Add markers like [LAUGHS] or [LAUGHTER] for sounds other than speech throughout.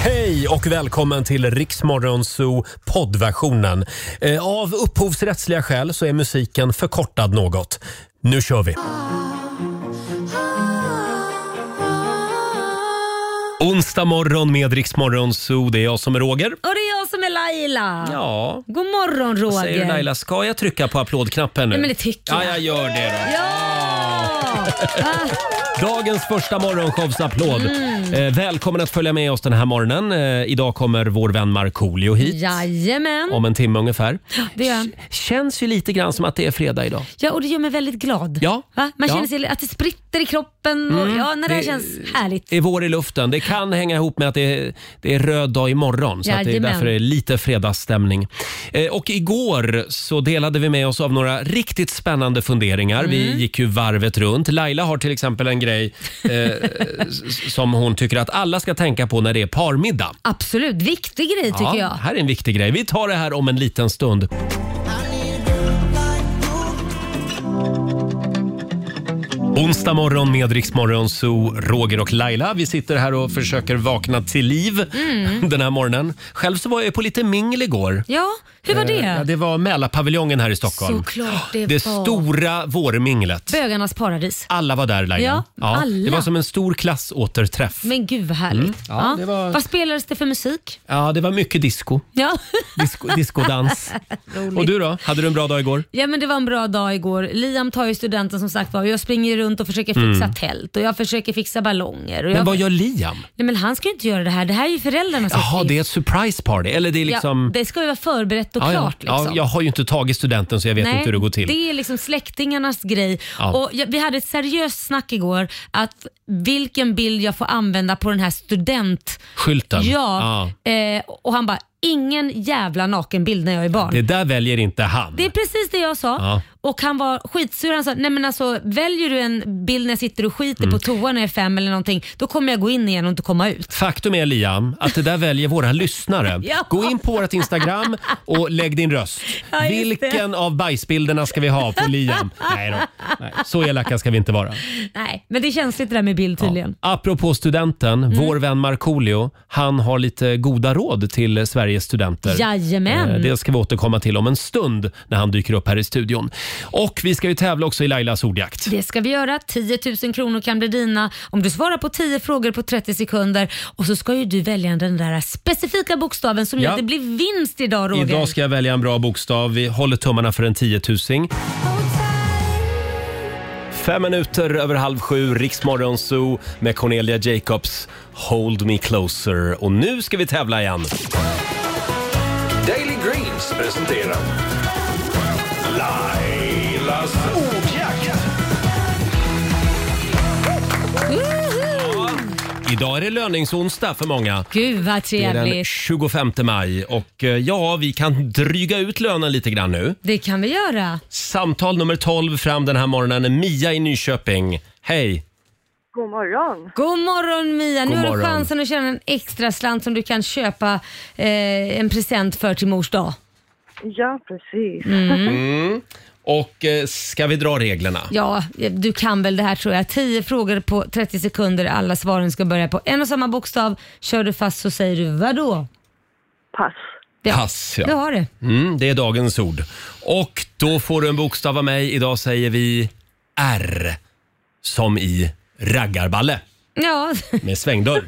Hej och välkommen till Riksmorgonzoo poddversionen. Eh, Av upphovsrättsliga skäl så är musiken förkortad något. Nu kör vi! Onsdag morgon med Riksmorgonzoo. Det är jag som är Roger. Och det är jag som är Laila. Ja, God morgon Roger. vad säger du Laila? Ska jag trycka på applådknappen nu? Nej, men det tycker ja, jag. jag gör det då. Ja! Ah, [LAUGHS] Dagens första morgonshowsapplåd. Mm. Eh, välkommen att följa med oss den här morgonen. Eh, idag kommer vår vän Markoolio hit. jajamän. Om en timme ungefär. Det gör han. K- Känns ju lite grann som att det är fredag idag. Ja, och det gör mig väldigt glad. Ja. Va? Man Ja. Mm. känner sig att det spritter i kroppen. Och, ja, när det, här Det- känns härligt. Det är vår i luften. Det kan hänga ihop med att det är, det är röd dag imorgon. Så att det är Jajamän. därför det är lite fredagsstämning. Eh, och igår så delade vi med oss av några riktigt spännande funderingar. Mm. Vi gick ju varvet runt. Laila har till exempel en grej eh, s- som hon tycker att alla ska tänka på när det är parmiddag. Absolut, viktig grej tycker Ja, jag. Här är en viktig grej. Vi tar det här om en liten stund. Onsdag morgon med Riksmorgon Zoo, Roger och Laila. Vi sitter här och försöker vakna till liv [LAUGHS] den här morgonen. Själv så var jag på lite mingel igår. Mm. Ja, hur var det? Eh, Ja, det var Mälarpaviljongen här i Stockholm. Såklart det Det var. stora vårminglet. Bögarnas paradis. Alla var där Laila. Ja, alla. Det var som en stor klassåterträff. Men gud vad härligt. Mm. Ja, det var- Vad spelades det för musik? Ja, det var mycket disco. Ja. Disco, [LAUGHS] discodans. Roligt. och du då? Hade du en bra dag igår? Ja men det var en bra dag igår. Liam tar ju studenten som sagt var jag springer runt och försöker fixa tält och jag försöker fixa ballonger. Och jag... Mm. Men vad gör Liam? Nej men han ska ju inte göra det här. Det här är ju föräldrarnas Jaha, det är ett surprise party? Eller det är liksom... Alltså, ja, det ska ju vara förberett och Ja, ja. klart. Liksom. Ja, jag har ju inte tagit studenten så jag vet Nej, inte hur det går till. Det är liksom släktingarnas grej. Ja. Och jag, vi hade ett seriöst snack igår att vilken bild jag får använda på den här student... Skylten. Ja. Eh, och han bara, ingen jävla nakenbild när jag är barn. Det där väljer inte han. Det är precis det jag sa. Ja. Och han var skitsur. Han sa, nej men alltså väljer du en bild när jag sitter och skiter Mm. på toan när jag är fem eller någonting, då kommer jag gå in igen och inte komma ut. Faktum är Liam, att det där väljer våra lyssnare. [LAUGHS] Ja. Gå in på vårt Instagram och lägg din röst. [LAUGHS] Ja, just det. Vilken av bajsbilderna ska vi ha på [LAUGHS] Liam? Nej då. Nej, så elaka ska vi inte vara. Nej, men det är känsligt det där med bild tydligen. Apropå studenten, Mm. vår vän Markoolio, han har lite goda råd till Sveriges studenter. Jajamän. Eh, Det ska vi återkomma till om en stund när han dyker upp här i studion. Och vi ska ju tävla också i Lailas ordjakt. Det ska vi göra. 10 000 kronor kan bli dina om du svarar på 10 frågor på 30 sekunder. Och så ska ju du välja den där specifika bokstaven som gör Ja. att det blir vinst idag Roger. Idag ska jag välja en bra bokstav. Vi håller tummarna för en tiotusing. Fem minuter över halv sju, Riksmorgon Zoo med Cornelia Jacobs. Hold me closer. Och nu ska vi tävla igen. Daily Greens presenterar Lailas ordjakt. Woho! Idag är det löningsonsdag för många. Gud vad Det är den trevligt. 25 maj och eh, ja, vi kan dryga ut lönen lite grann nu. Det kan vi göra. Samtal nummer 12 fram den här morgonen är Mia i Nyköping. Hej! God morgon. God morgon Mia! God nu har du morgon. chansen att tjäna en extra slant som du kan köpa eh, en present för till mors dag. Mm. Ja, precis. Mm. Och eh, ska vi dra reglerna? Ja, du kan väl det här tror jag. 10 frågor på 30 sekunder. Alla svaren ska börja på en och samma bokstav. Kör du fast så säger du vadå? Pass. Ja. Pass, Du ja. har det. Mm, det är dagens ord. Och då får du en bokstav av mig. Idag säger vi R som i raggarballe Ja, [LAUGHS] med svängdörr.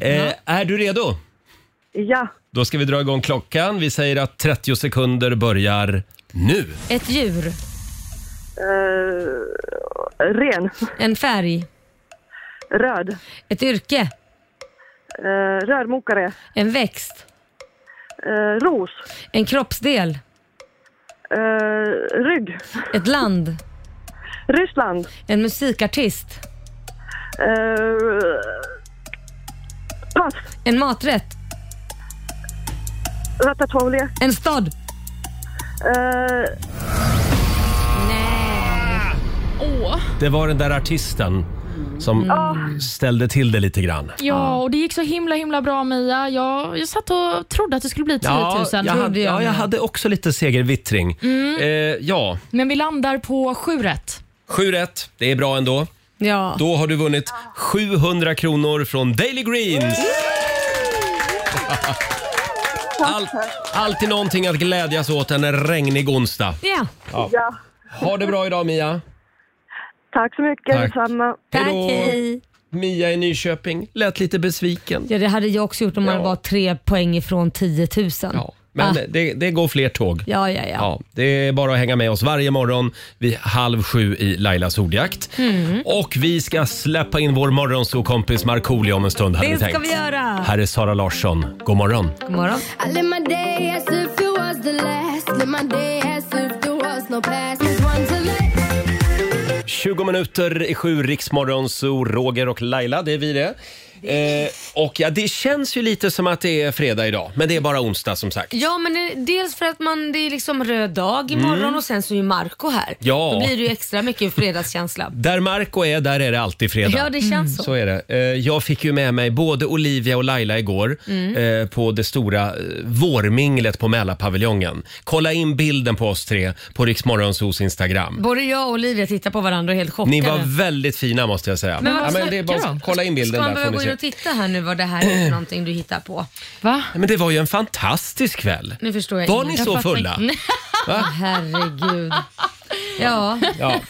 eh, är du redo? Ja, Då ska vi dra igång klockan. Vi säger att 30 sekunder börjar nu. ett djur, eh, ren. en färg, Röd. ett yrke, Eh, rörmokare. en växt, Eh, ros. en kroppsdel, Eh, rygg. ett land, Ryssland. en musikartist, Eh, pass. en maträtt, Ratatouille. en stad. Eh, Åh, Det var den där artisten som ställde till det lite grann. ja, och det gick så himla himla bra Mia. Jag, jag satt och trodde att det skulle bli 10 000. jag, hade, ja, jag hade också lite segervittring. Mm. Eh, ja, Mm. Men vi landar på 7 rätt. 7 rätt. Det är bra ändå. Ja. Då har du vunnit 700 kronor från Daily Greens. All, alltid någonting att glädjas åt en regnig onsdag. Ja, Ja. Ha det bra idag Mia. Tack så mycket, Tack. detsamma. tack. Hejdå. Hej. Mia i Nyköping lät lite besviken. Ja, det hade jag också gjort om man Ja. var tre poäng ifrån 10 000. Ja, men Ah. det, det går fler tåg. Ja, ja, ja. Ja, det är bara att hänga med oss varje morgon vid halv sju i Lailas ordjakt. Mm. Och vi ska släppa in vår morgonsokompis Markoolio om en stund. hade Det vi ska tänkt. vi göra. Här är Sara Larsson. God morgon. God morgon. I live my day as if it was the last. Live my day as if there was no past. This one to live. 20 minuter i sju, Riksmorgon, så Roger och Laila, det är vi det. Eh, och ja, det känns ju lite som att det är fredag idag, men det är bara onsdag som sagt. Ja, men eh, dels för att man, det är liksom röd dag imorgon och sen så är ju Marco här. Mm. Ja. Då blir det ju extra mycket fredagskänsla. Där Marco är, där är det alltid [LAUGHS] fredag. Ja, det känns så. Så är det. Eh, Jag fick ju med mig både Olivia och Laila igår Mm. eh, på det stora eh, vårminglet på Mälarpaviljongen. Kolla in bilden på oss tre på Riksmorgonsos Instagram. Både jag och Olivia tittar på varandra och är helt chockade. Ni var väldigt fina måste jag säga. Men vad men det är bara, snackar att de? kolla in Ska bilden man där får behöva ni gå in se. och titta här nu vad det här är för någonting du hittar på? Va? Nej, Men det var ju en fantastisk kväll. Nu förstår jag Var ni ingenting. så fattar fulla? inte. [LAUGHS] Herregud. Ja, Ja. jag,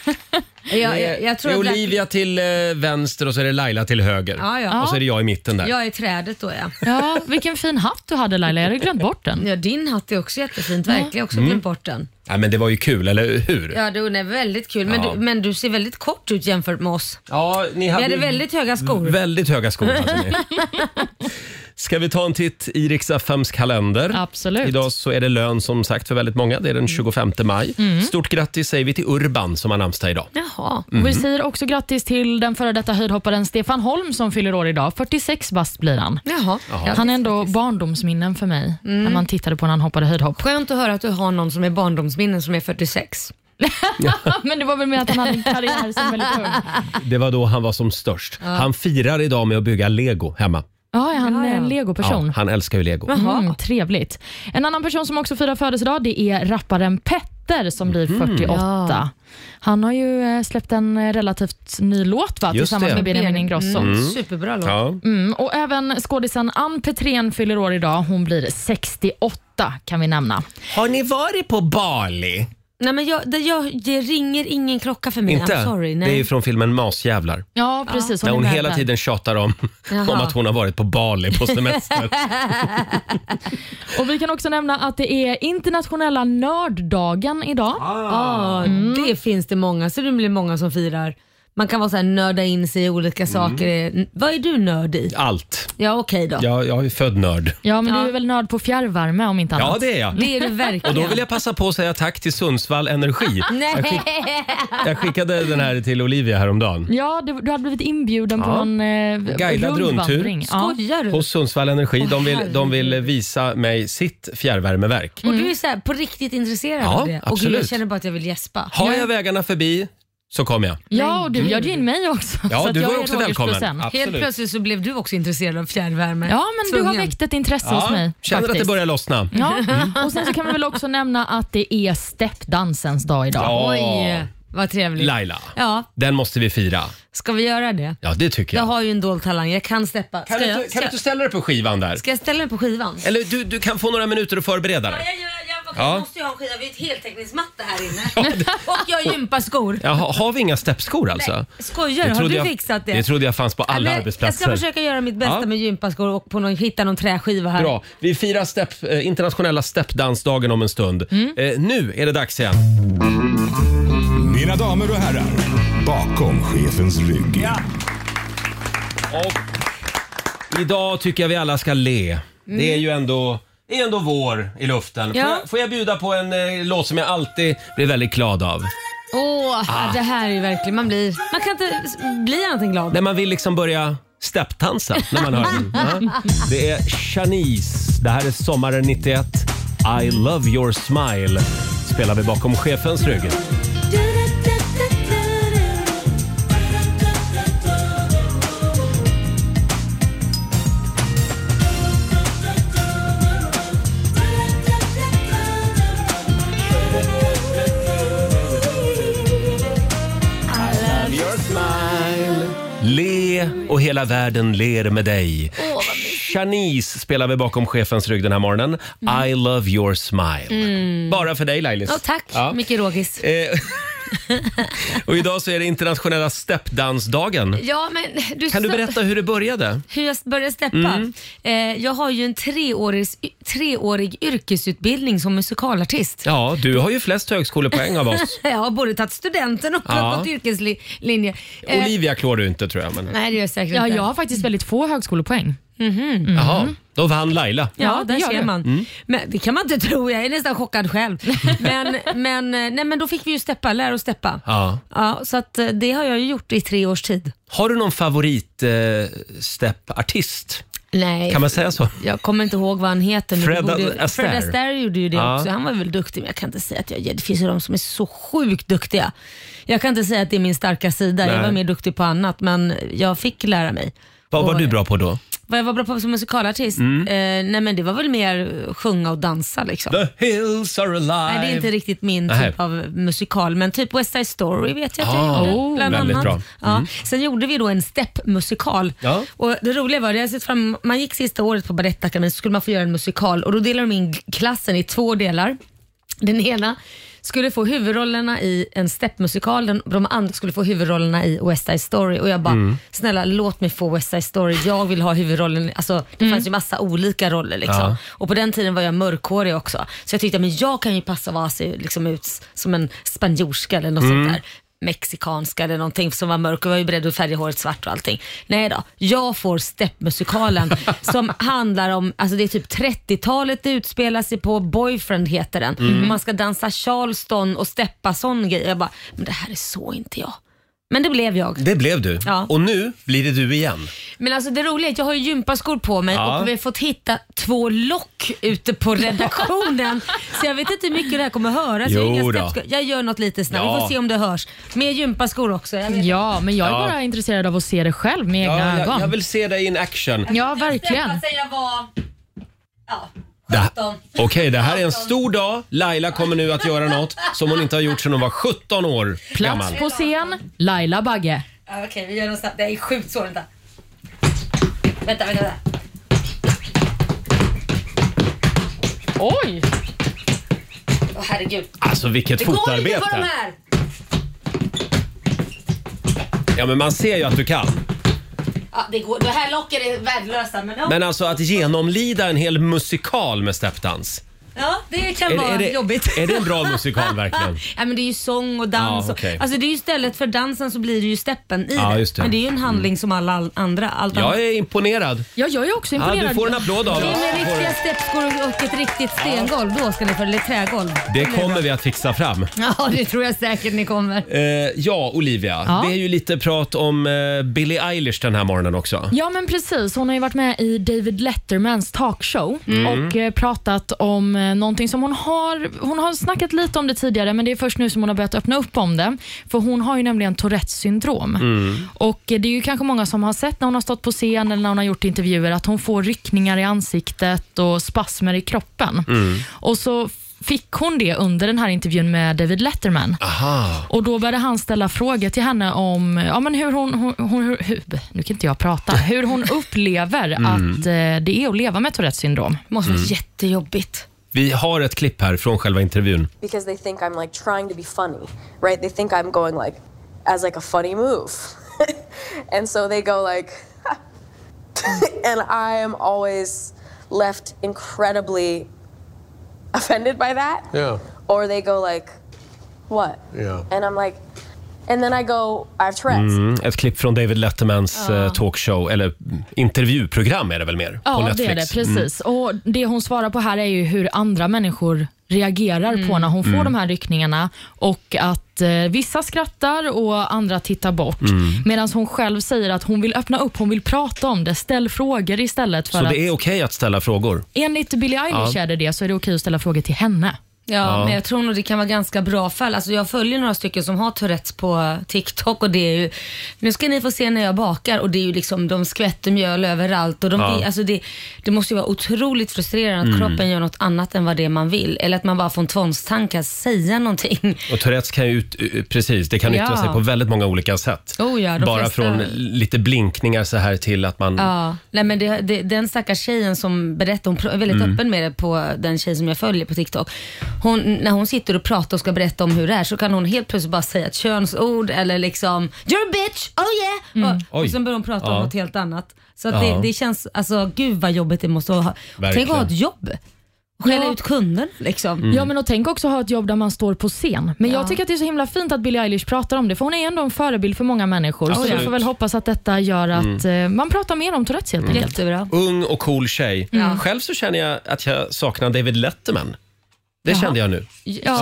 jag, [LAUGHS] jag det tror är att... Olivia till eh, vänster och så är det Laila till höger. Ja, ja. Och så är det jag i mitten där. Jag är trädet då ja. Ja, vilken fin hatt du hade Laila. Jag hade glömt bort den. ja. Din hatt är också jättefint, verkligen. Jag har Mm. också glömt bort den. Ja, men det var ju kul, eller hur? Ja, den är väldigt kul. Men, Ja. du, men du ser väldigt kort ut jämfört med oss. Ja, ni Vi hade, hade väldigt höga skor. Väldigt [LAUGHS] höga skor hade ni. Ska vi ta en titt i Riksaffems kalender? Absolut. Idag så är det lön som sagt för väldigt många. Det är Mm. den 25 maj. Stort grattis säger vi till Urban som har namnsdag idag. Jaha. Och vi säger också grattis till den före detta höjdhopparen Stefan Holm som fyller år idag. 46 bast blir han. Jaha. Mm. Han är ändå barndomsminnen för mig när man tittade på när han hoppade höjdhopp. Skönt att höra att du har någon som är barndomsminnen som är 46. [LAUGHS] Men det var väl med att han hade en karriär som [LAUGHS] väldigt ung. Det var då han var som störst. Han firar idag med att bygga lego hemma. Ja, är han Ja, ja. en legoperson? han älskar ju lego. Mm, trevligt. En annan person som också firar födelsedag det är rapparen Petter som blir Mhm. 48. Han har ju eh, släppt en eh, relativt ny låt va? Just tillsammans det. med Benjamin Ingrosso. Mm. Superbra låt. Ja. och även skådisen Ann Petrén fyller år idag. Hon blir 68 kan vi nämna. Har ni varit på Bali? [LAUGHS] Nej, men jag, det, jag, det ringer ingen klocka för mig. Inte? I'm sorry. Nej. Det är ju från filmen Masjävlar. Ja, precis. Där är hon med hela där. tiden tjatar om, om Jaha. att hon har varit på Bali på semester. [LAUGHS] Och Vi kan också nämna att det är internationella nörddagen idag. Ja, Ah, Mm. det finns det många. Så det blir många som firar. Man kan vara så här, nörda in sig i olika saker. N- Vad är du nörd i? Mm. Allt. Ja, okej då. Jag, jag är ju född nörd. Ja, men Ja. du är väl nörd på fjärrvärme om inte annat? Ja, det är jag. Det är du Och verkligen. då vill jag passa på att säga tack till [LAUGHS] Sundsvall Energi. Nej. Jag skickade den här till Olivia häromdagen. Ja, du, du hade blivit inbjuden på Ja. någon eh, Guidad rundvandring. rundtur. Ja. Skojar du? Hos Sundsvall Energi. De vill, herregud. de vill visa mig sitt fjärrvärmeverk. Och Mm. du är så här, på riktigt intresserad Ja, av det? Och gud, absolut. jag känner bara att jag vill gäspa. Har jag vägarna förbi så kommer jag. Ja, och du bjöd ju in mig också. Ja, så att du jag var är också Rogers välkommen. present. Helt Absolut. plötsligt så blev du också intresserad av fjärrvärme. Ja, men du har Tvungen. väckt ett intresse hos Ja, mig. känner att det faktiskt. börjar lossna. Mm. Ja, [LAUGHS] och sen så kan vi väl också nämna att det är steppdansens dag idag. Ja. Oj, vad trevligt. Laila, Ja, den måste vi fira. ska vi göra det? Ja, det tycker Jag jag. har ju en dold talang, jag kan steppa. Ska, Kan du, jag, inte- ska, kan du inte ställa dig på skivan där? ska jag ställa mig på skivan? Eller du, du kan få några minuter att förbereda dig. Jag, jag, Ja. måste ju ha en skiva, vi är ett heltäckningsmatta här inne. [LAUGHS] Och jag har gympaskor. Jaha, har vi inga steppskor alltså? Skojar Det du? Har trodde du jag- fixat det? Det trodde jag fanns på alla Nej, men arbetsplatser. Jag ska försöka göra mitt bästa Ja. med gympaskor och på någon, hitta någon träskiva här. Bra. Vi firar stepp, eh, internationella steppdansdagen om en stund. Mm. Eh, nu är det dags igen. Mina damer och herrar, bakom chefens rygg. Och idag tycker jag vi alla ska le. Det är ju ändå, det är ändå vår i luften. Får, Mm. Ja. jag, får jag bjuda på en eh, låt som jag alltid blir väldigt glad av? Åh, Ah. det här är ju verkligen, man blir... Man kan inte s- bli annat än glad. När man vill liksom börja steppdansa när man hör [LAUGHS] den. Ja. Det är Shanice. Det här är sommaren 91. I love your smile spelar vi bakom chefens rygg. Le och hela världen ler med dig. Shanice spelar vi bakom chefens rygg den här morgonen. I love your [LAUGHS] smile. Bara för dig Lailis. Mm. Ja, tack, Ja. Micke Rågis. Eh, och idag så är det internationella steppdansdagen. Ja, men du Kan du sa- berätta Mm. hur det började? hur jag började steppa? Eh, jag har ju en treårig, treårig yrkesutbildning som musikalartist. Ja, du har ju flest högskolepoäng av oss. Jag har både tagit studenten och Ja. gått yrkeslinje. [LAUGHS] Eh, Olivia klår du inte tror jag. Men... nej, det gör jag säkert Ja, inte. Mhm. jag har faktiskt väldigt få högskolepoäng. Mm. Jaha, Mm. då vann Laila. Mm. Ja, Ja, där det gör ser du. man. Men, det kan man inte tro, jag är nästan chockad [LAUGHS] själv. men, men, eh, nej, men då fick vi ju steppa, lära oss steppa. Ja. Ja, så att, eh, det har jag ju gjort i tre års tid. Har du någon favorit eh, steppartist? Nej, Kan man säga så? jag kommer inte ihåg vad han heter. men Fred det borde- Astaire. Fred Astaire gjorde ju det Ja. också. Han var väl duktig, men jag kan inte säga att jag... Det finns ju de som är så sjukt duktiga. Jag kan inte säga att det är min starka sida. Jag Nej. var mer duktig på annat, men jag fick lära mig. Vad var Och- du bra Mm. på då? Vad jag var bra på som musikalartist? Eh, nej, men det var väl mer eh, sjunga och dansa liksom. The hills are alive. Nej, det är inte riktigt min Nej. typ av musikal, men typ West Side Story vet jag att Ah, jag oh, gjorde. Bland väldigt annat. bra. Mm. Ja. Sen gjorde vi då en steppmusikal. Ja. Och det roliga var, det jag sett fram, man gick sista året på Balettakademin så skulle man få göra en musikal och då delade de in klassen i två delar. Den ena skulle få huvudrollerna i en steppmusikal, den- de andra skulle få huvudrollerna i West Side Story. Och jag bara, Mm. snälla låt mig få West Side Story, jag vill ha huvudrollen. Alltså, det fanns ju massa olika roller. Liksom. Ja. Och på den tiden var jag mörkhårig också. Så jag tyckte, men jag kan ju passa vara sig liksom ut som en spanjorska eller något sånt där. Mexikanska eller någonting som var mörk och jag var ju beredd att färga håret svart och allting. Nej då, jag får steppmusikalen som handlar om, alltså det är typ 30-talet det utspelar sig på, Boyfriend heter den. Man ska dansa charleston och steppa sån grej. Jag bara, men det här är så inte jag. Men det blev jag. Det blev du. Ja. Och nu blir det du igen. Men alltså det roliga är att jag har ju gympaskor på mig Ja. och vi har fått hitta två lock ute [LAUGHS] på redaktionen. så jag vet inte hur mycket det här kommer höras. jag, har Jo inga då. steppskor. jag gör något lite snabbt, vi Ja. får se om det hörs. Med gympaskor också. Jag vet. Ja, men jag är Ja. bara intresserad av att se det själv med egna Ja, jag, ögon. jag vill se dig in action. Ja, verkligen. Steppa sen jag var... Ja, Det- 17. Okej, det här är en stor dag. Laila kommer nu att göra något som hon inte har gjort sedan hon var 17 år gammal. Plats på scen, Laila Bagge. Ja, Okej, vi gör något snabbt. Det är sjukt svårt. Vänta. Vänta, vänta, vänta. Oj! Åh herregud. Alltså vilket Det går inte fotarbete. för de här. Ja, men man ser ju att du kan. Ja, det, går. det här locken är värdelösa men, ja. Men alltså att genomlida en hel musikal med steppdans. ja, det kan vara det, [LAUGHS] jobbigt. är det en bra [LAUGHS] musikal verkligen? Ja, men det är ju sång och dans. Ja, okej. och, alltså det är ju istället för dansen så blir det ju steppen i Ja, det. just det. Men Mm. det är ju en handling som alla all- andra. Allt Jag annat. är imponerad. Ja, jag är också Ja, imponerad. du får en applåd av Det är oss. med riktiga steppskor och- och ett riktigt stengolv. Då ska ni få eller trägolv. Det kommer vi att fixa fram. Ja, det tror jag säkert ni kommer. Eh, ja, Olivia. Ja. Det är ju lite prat om eh, Billie Eilish den här morgonen också. Ja, men precis. Hon har ju varit med i David Lettermans talkshow och eh, pratat om eh, någonting som hon har... Hon har snackat lite om det tidigare, men det är först nu som hon har börjat öppna upp om det. För hon har ju nämligen Tourettes syndrom. Mm. Mm. Och eh, det är ju kanske många som har sett när hon har stått på scen eller när hon har gjort intervjuer att hon får ryckningar i ansiktet och spasmer i kroppen. Mm. Och så fick hon det under den här intervjun med David Letterman. Aha. Och Då började han ställa frågor till henne om ja, men hur hon, hon, hon hur, hur, nu kan inte jag prata, hur hon upplever att eh, det är att leva med Tourettes syndrom. Mm. Mm. måste vara jättejobbigt. Vi har ett klipp här från själva intervjun. because they think I'm like trying to be funny, right? They think I'm going like as like a funny move. [LAUGHS] and so they go like [LAUGHS] and I am always left incredibly offended by that. Yeah, Or they go like what? yeah. And I'm like and then I go I have Tourette's. Mm, ett klipp från David Lettermans eh, talkshow, eller mm, intervjuprogram är det väl mer? på Ja, Netflix. det är det. Mm. Precis. Och Det hon svarar på här är ju hur andra människor reagerar Mm. på när hon får de här ryckningarna och att eh, vissa skrattar och andra tittar bort. Mm. Mm. Medan hon själv säger att hon vill öppna upp, hon vill prata om det, ställ frågor istället. För Så att, det är okej att ställa frågor? Enligt Billie Eilish Ja. är det det, så är det okej att ställa frågor till henne. Ja, men jag tror nog det kan vara ganska bra fall. Alltså jag följer några stycken som har Tourettes på TikTok och det är ju, nu ska ni få se när jag bakar och det är ju liksom, de skvätter mjöl överallt och de, Ja. alltså det, det måste ju vara otroligt frustrerande att kroppen gör något annat än vad det är man vill. Eller att man bara från tvångstankar säga någonting. Och Tourettes kan ju, ut- eh, precis, det kan yttra Ja. sig på väldigt många olika sätt. Oh ja, de Bara flesta- från lite blinkningar så här till att man... Ja, nej men det, det, den stackars tjejen som berättar, hon pr- är Mm. väldigt öppen med det på den tjej som jag följer på TikTok. Hon, när hon sitter och pratar och ska berätta om hur det är så kan hon helt plötsligt bara säga ett könsord eller liksom “You're a bitch, oh yeah!” och, Mm. Oj. och sen börjar hon prata Ja. om något helt annat. Så att Ja. det, det känns, alltså gud vad jobbigt det måste vara. Tänk Verkligen. Mm. att ha ett jobb. Skälla Ja. ut kunden liksom. Ja, men och tänk också ha ett jobb där man står på scen. Men jag Ja. tycker att det är så himla fint att Billie Eilish pratar om det, för hon är ändå en förebild för många människor. Så Absolut. Mm. jag får väl hoppas att detta gör att eh, man pratar mer om Tourettes helt enkelt. Jättebra. Ung och cool tjej. Mm. Själv så känner jag att jag saknar David Letterman. Det kände jag nu.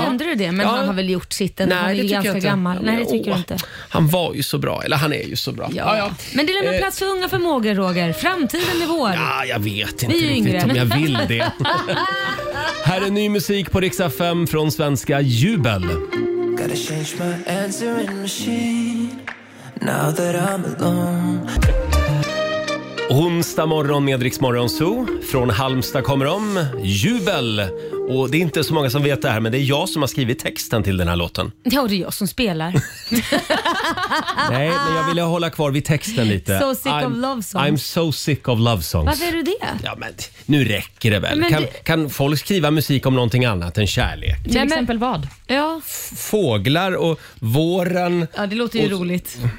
Kände du det? Men Ja. han har väl gjort sitt ändå. Han är ju tycker jag ganska inte. gammal. Ja, men Nej, det tycker åh, du inte. Han var ju så bra, eller han är ju så bra. Ja. Men det lämnar plats för unga förmågor, Roger. Framtiden är vår. Eh. Ja, Ah, jag vet inte Vi är riktigt yngre. om jag vill det. Här är ny musik på Riksa 5 från svenska Jubel. Gotta change my answering machine now that I'm alone. Onsdag morgon med Rix Morgon Zoo. Från Halmstad kommer de. Jubel! Och det är inte så många som vet det här, men det är jag som har skrivit texten till den här låten. [LAUGHS] Ja, det är jag som spelar. [LAUGHS] Nej, men jag ville hålla kvar vid texten lite. So sick of love songs. I'm so sick of love songs. Varför är du det? Ja, men nu räcker det väl. Men Kan, det- kan folk skriva musik om någonting annat än kärlek? Till exempel vad? Ja, Fåglar och våren. ja det låter ju roligt. Mm.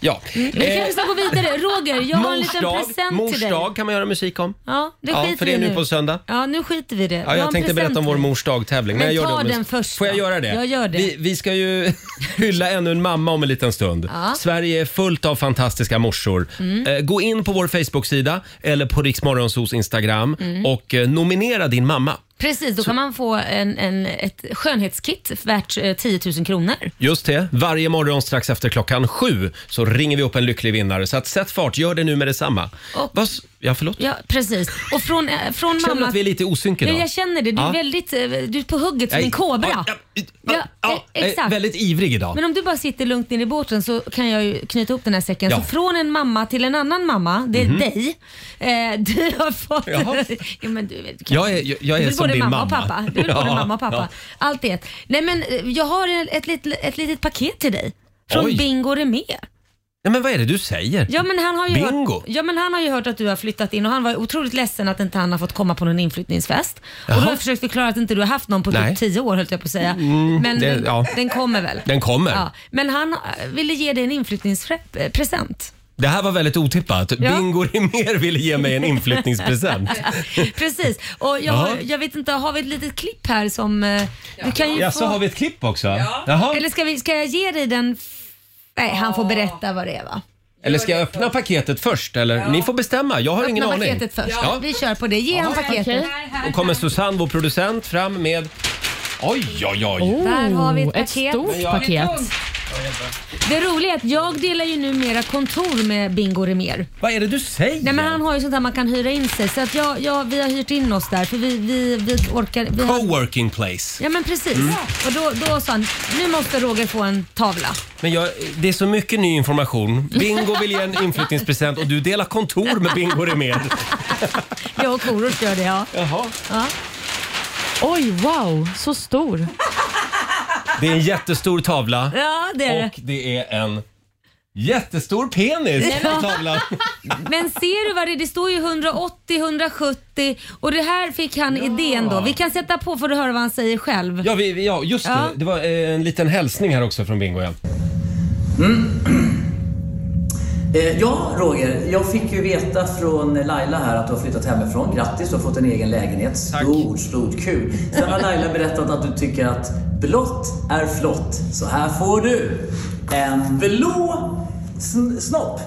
Ja. Vi Eh, kanske ska gå vidare. Roger, jag har en mors liten dag, present mors till dig. dag kan man göra musik om. Ja, det Ja, skiter för det är vi nu på söndag. Ja, nu skiter vi i det. Ja, jag tänkte berätta om vår mors dag-tävling. Men jag gör ta det om en- den först Får jag då? göra det? Jag gör det. Vi, vi ska ju [LAUGHS] hylla ännu en mamma om en liten stund. Sverige är fullt av fantastiska morsor. Mm. Eh, gå in på vår Facebook-sida eller på Riksmorgonsos Instagram Mm. och eh, nominera din mamma. Precis, då kan man få en, en, ett skönhetskit värt eh, 10 000 kronor. Just det. Varje morgon strax efter klockan sju så ringer vi upp en lycklig vinnare. Så att sätt fart, gör det nu med detsamma. Och- Vad s- Ja, förlåt? Ja, precis. Och från, eh, från Känner du mamma... att vi är lite i osynk Ja, idag? jag känner det. Du är Ja. väldigt eh, du är på hugget som Nej. en kobra. Ja, ja, Ja, ja, e- jag är exakt. Väldigt ivrig idag. Men om du bara sitter lugnt ner i båten så kan jag ju knyta upp den här säcken. Ja. Mhm. Så från en mamma till en annan mamma, det är dig. Eh, du har fått... Jaha. ja, men du, vet, kan... Jag är, jag, jag Du är vill som både din mamma mamma. och pappa. Du [LAUGHS] vill både Ja, mamma och pappa. Allt i ett. Nej men eh, jag har en- ett litet, ett litet paket till dig. Från Oj. Bingo Remer. Nej, men vad är det du säger? Ja men, han har ju Bingo? Hört, ja men han har ju hört att du har flyttat in och han var otroligt ledsen att inte han har fått komma på någon inflyttningsfest. Och då har jag försökt förklara att inte du har haft någon på Nej. Mm, typ tio år höll jag på att säga. men det- den, ja. den kommer väl? Den kommer. Ja, men han eh, ville ge dig en eh, inflyttningspresent. Det här var väldigt otippat. Ja. Bingo Rimér ville ge mig en inflyttningspresent. [LAUGHS] Precis. Och jag, Jaha. har, jag vet inte, har vi ett litet klipp här som... eh, Du kan ju Ja, få, så har vi ett klipp också? Jaha. Eller ska, vi, ska jag ge dig den... f- Nej, han får berätta vad det är va? Eller ska jag öppna paketet först? Eller? Ni får bestämma, jag har ingen Öppna aning. paketet först. Ja. Vi kör på det. Ge han paketet. Okej. Och kommer Susanne, vår producent, fram med... Oj, oj, oj! Där har vi ett Oh, paket. stort paket. Det roliga är att jag delar ju numera kontor med Bingo Remer. Vad är det du säger? Nej men han har ju sånt där man kan hyra in sig så att jag, jag, vi har hyrt in oss där för vi, vi, vi orkar... Vi har, Coworking place. ja men precis. Och då, då sa han, nu måste Roger få en tavla. Men jag, det är så mycket ny information. Bingo vill ge en inflyttningspresent och du delar kontor med Bingo Rimér. Jag och Korosh gör det ja. Jaha. Oj, wow, så stor. Det är en jättestor tavla. Ja det är det. Och det är en jättestor penis på tavlan. Men ser du vad det, det står ju 180, 170 och det här fick han idén då. Vi kan sätta på för att höra vad han säger själv. Ja, vi, vi- ja just Ja. det. Det var eh, en liten hälsning här också från Bingo. Ja. Mm. [CLEARS THROAT] Eh, ja, Roger. Jag fick ju veta från Laila här att du har flyttat hemifrån. Grattis, du har fått en egen lägenhet. Stort, stort kul. Sen har Laila berättat att du tycker att blått är flott. Så här får du en blå sn- snopp.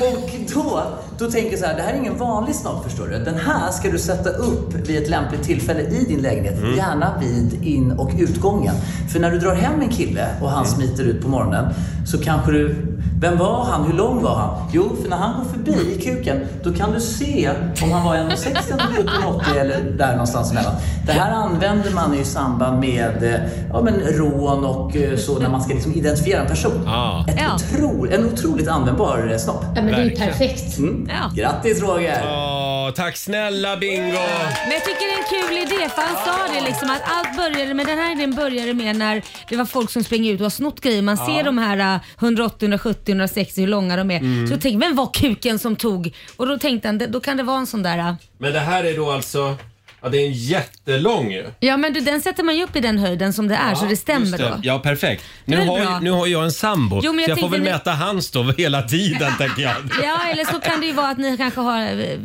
Och då, då tänker jag så här, det här är ingen vanlig snopp förstår du. Den här ska du sätta upp vid ett lämpligt tillfälle i din lägenhet. Gärna vid in och utgången. För när du drar hem en kille och han smiter ut på morgonen så kanske du Vem var han? Hur lång var han? Jo, för när han går förbi i kuken, då kan du se om han var 1,60 1,80 eller där någonstans emellan. Det här använder man ju i samband med eh, ja, men rån och eh, så när man ska liksom identifiera en person. Ah. Ett Ja. otro, en otroligt användbar eh, snopp. Ja, men det är ju Verkligen. perfekt. Mm. Ja. Grattis Roger! Åh, tack snälla Bingo! Men jag tycker det är en kul idé för han sa det liksom att allt började med den här idén började med när det var folk som sprang ut och har snott grejer. Man ser de här äh, 180, 170, 160 hur långa de är. Mm. Så jag tänkte vem var kuken som tog? Och då tänkte han det- då kan det vara en sån där. äh, Men det här är då alltså... Ja, det är en jättelång ju. Ja men du, den sätter man ju upp i den höjden som det är så det stämmer då. Ja, perfekt. är Nu väl har, bra. ju- nu har ju jag en sambo, Jo, men jag så jag får tänkte väl ni- mäta hans då [LAUGHS] [LAUGHS] hela tiden, tänker jag. Ja eller så kan det ju vara att ni kanske har, eh,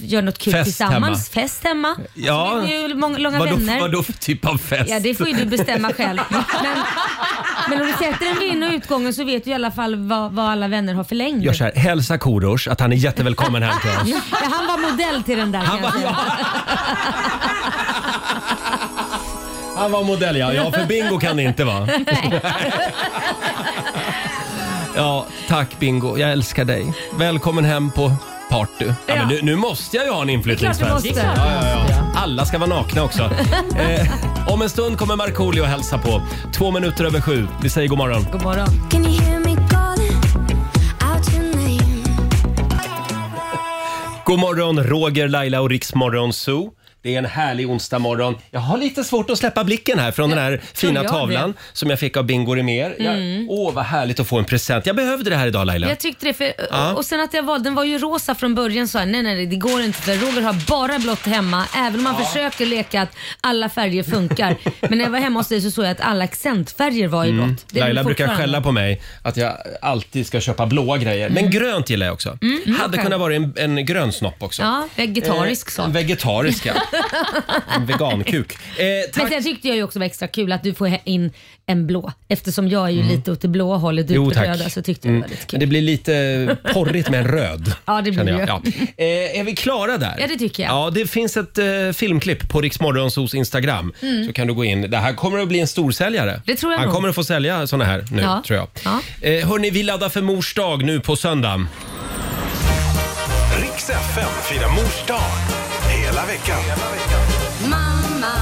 gör något kul Fest tillsammans. Fest hemma. Ja. Så blir det ju många, långa Vadå, vänner. vadå för typ av fest? Ja, det får ju du bestämma själv. [LAUGHS] Men, men om du sätter den vid in och utgången så vet du i alla fall vad, vad alla vänner har för längd. Gör så här, hälsa Korosh att han är jättevälkommen hem till oss. Ja, han var modell till den där kan jag säga. Han var modell ja, ja för Bingo kan det inte [LAUGHS] vara. Ja, tack Bingo, jag älskar dig. Välkommen hem på party. Ja, men nu, nu måste jag ju ha en inflyttningsfest. Det är klart du Ja, måste. ja, ja. Alla ska vara nakna [LAUGHS] också. Eh, om en stund kommer Markoolio och hälsa på. Två minuter över sju. Vi säger god morgon. God morgon. Can you hear me calling out your name? God morgon, Roger, Laila och Riksmorgon Zoo. Det är en härlig onsdag morgon. Jag har lite svårt att släppa blicken här från den här fina jag Mm. tavlan som jag fick av Bingo Rimér. Jag- Åh, vad härligt att få en present. Jag behövde det här idag Laila. Jag tyckte det för, Ja. och sen att jag valde, den var ju rosa från början sa jag nej nej det går inte för Roger har bara blått hemma även om man försöker leka att alla färger [LAUGHS] funkar. Men när jag var hemma hos dig så såg jag att alla accentfärger var i blått. Det är Mm. Laila väl brukar fortfarande- [LAUGHS] skälla på mig att jag alltid ska köpa blåa grejer. Men grönt gillar jag också. Hade Mm. okej. kunnat vara en, en grön snopp också. Ja, vegetarisk Eh, sak. Vegetarisk, ja. [LAUGHS] En vegankuk. Eh, Men tack. sen tyckte jag ju också var extra kul att du får he- in en blå. Eftersom jag är ju lite åt det blåa hållet, du Mm. är Jo, åt det tack. Mm. röda, så tyckte jag det var lite Men kul. det blir lite porrigt med en röd. [LAUGHS] Ja, det blir känner jag. det. Ja. Eh, är vi klara där? Ja, det tycker jag. Ja, det finns ett eh, filmklipp på Riksmorgonsos Instagram. Så kan du gå in. Det här kommer att bli en storsäljare. Mm. Det tror jag Han nog. kommer att få sälja såna här nu, Ja. tror jag. Ja. Eh, hörni, vi laddar för mors dag nu på söndag. Riks FM firar mors dag hela veckan. Mamma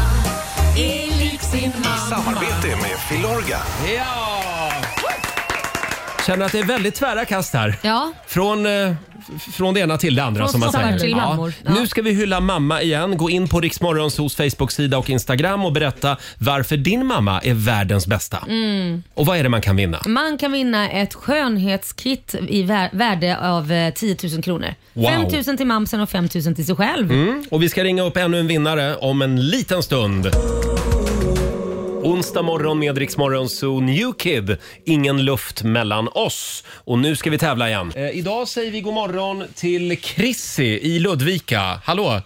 är lik sin mamma. Samarbete med Filorga. Ja! Känner att det är väldigt tvära kast här. Ja. Från, eh, f- från det ena till det andra Från som man sommar säger. till mammor. Ja. Nu ska vi hylla mamma igen. Gå in på Riksmorgonsos Facebook-sida och Instagram och berätta varför din mamma är världens bästa. Mm. Och vad är det man kan vinna? Man kan vinna ett skönhetskit i vär- värde av eh, 10 000 kronor. Wow. Mm. 5 000 till mamsen och 5 000 till sig själv. Och vi ska ringa upp ännu en vinnare om en liten stund. Onsdag morgon med Rix Morgon Zoo New Kid. Ingen luft mellan oss. Och nu ska vi tävla igen. Eh, idag säger vi god morgon till Chrissy i Ludvika. Hallå!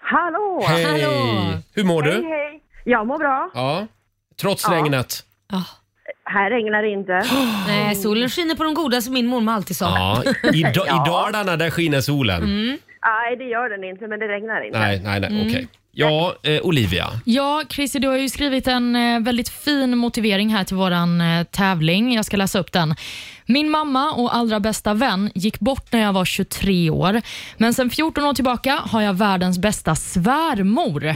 Hallå! Hallå. Hur mår Hej, du? hej! Jag mår bra. Ja, trots regnet. Här regnar det inte. [GASPS] Nej, solen skiner på de goda som min mormor alltid sa. Mm. Ja, Mm. i, [LAUGHS] da- i Dalarna där skiner solen. Nej, det gör den inte, men det regnar inte. Nej, nej, nej, okej. Ja, eh, Olivia. Ja, Chrissy, du har ju skrivit en eh, väldigt fin motivering här till våran eh, tävling. Jag ska läsa upp den. Min mamma och allra bästa vän gick bort när jag var 23 år, men sen 14 år tillbaka har jag världens bästa svärmor.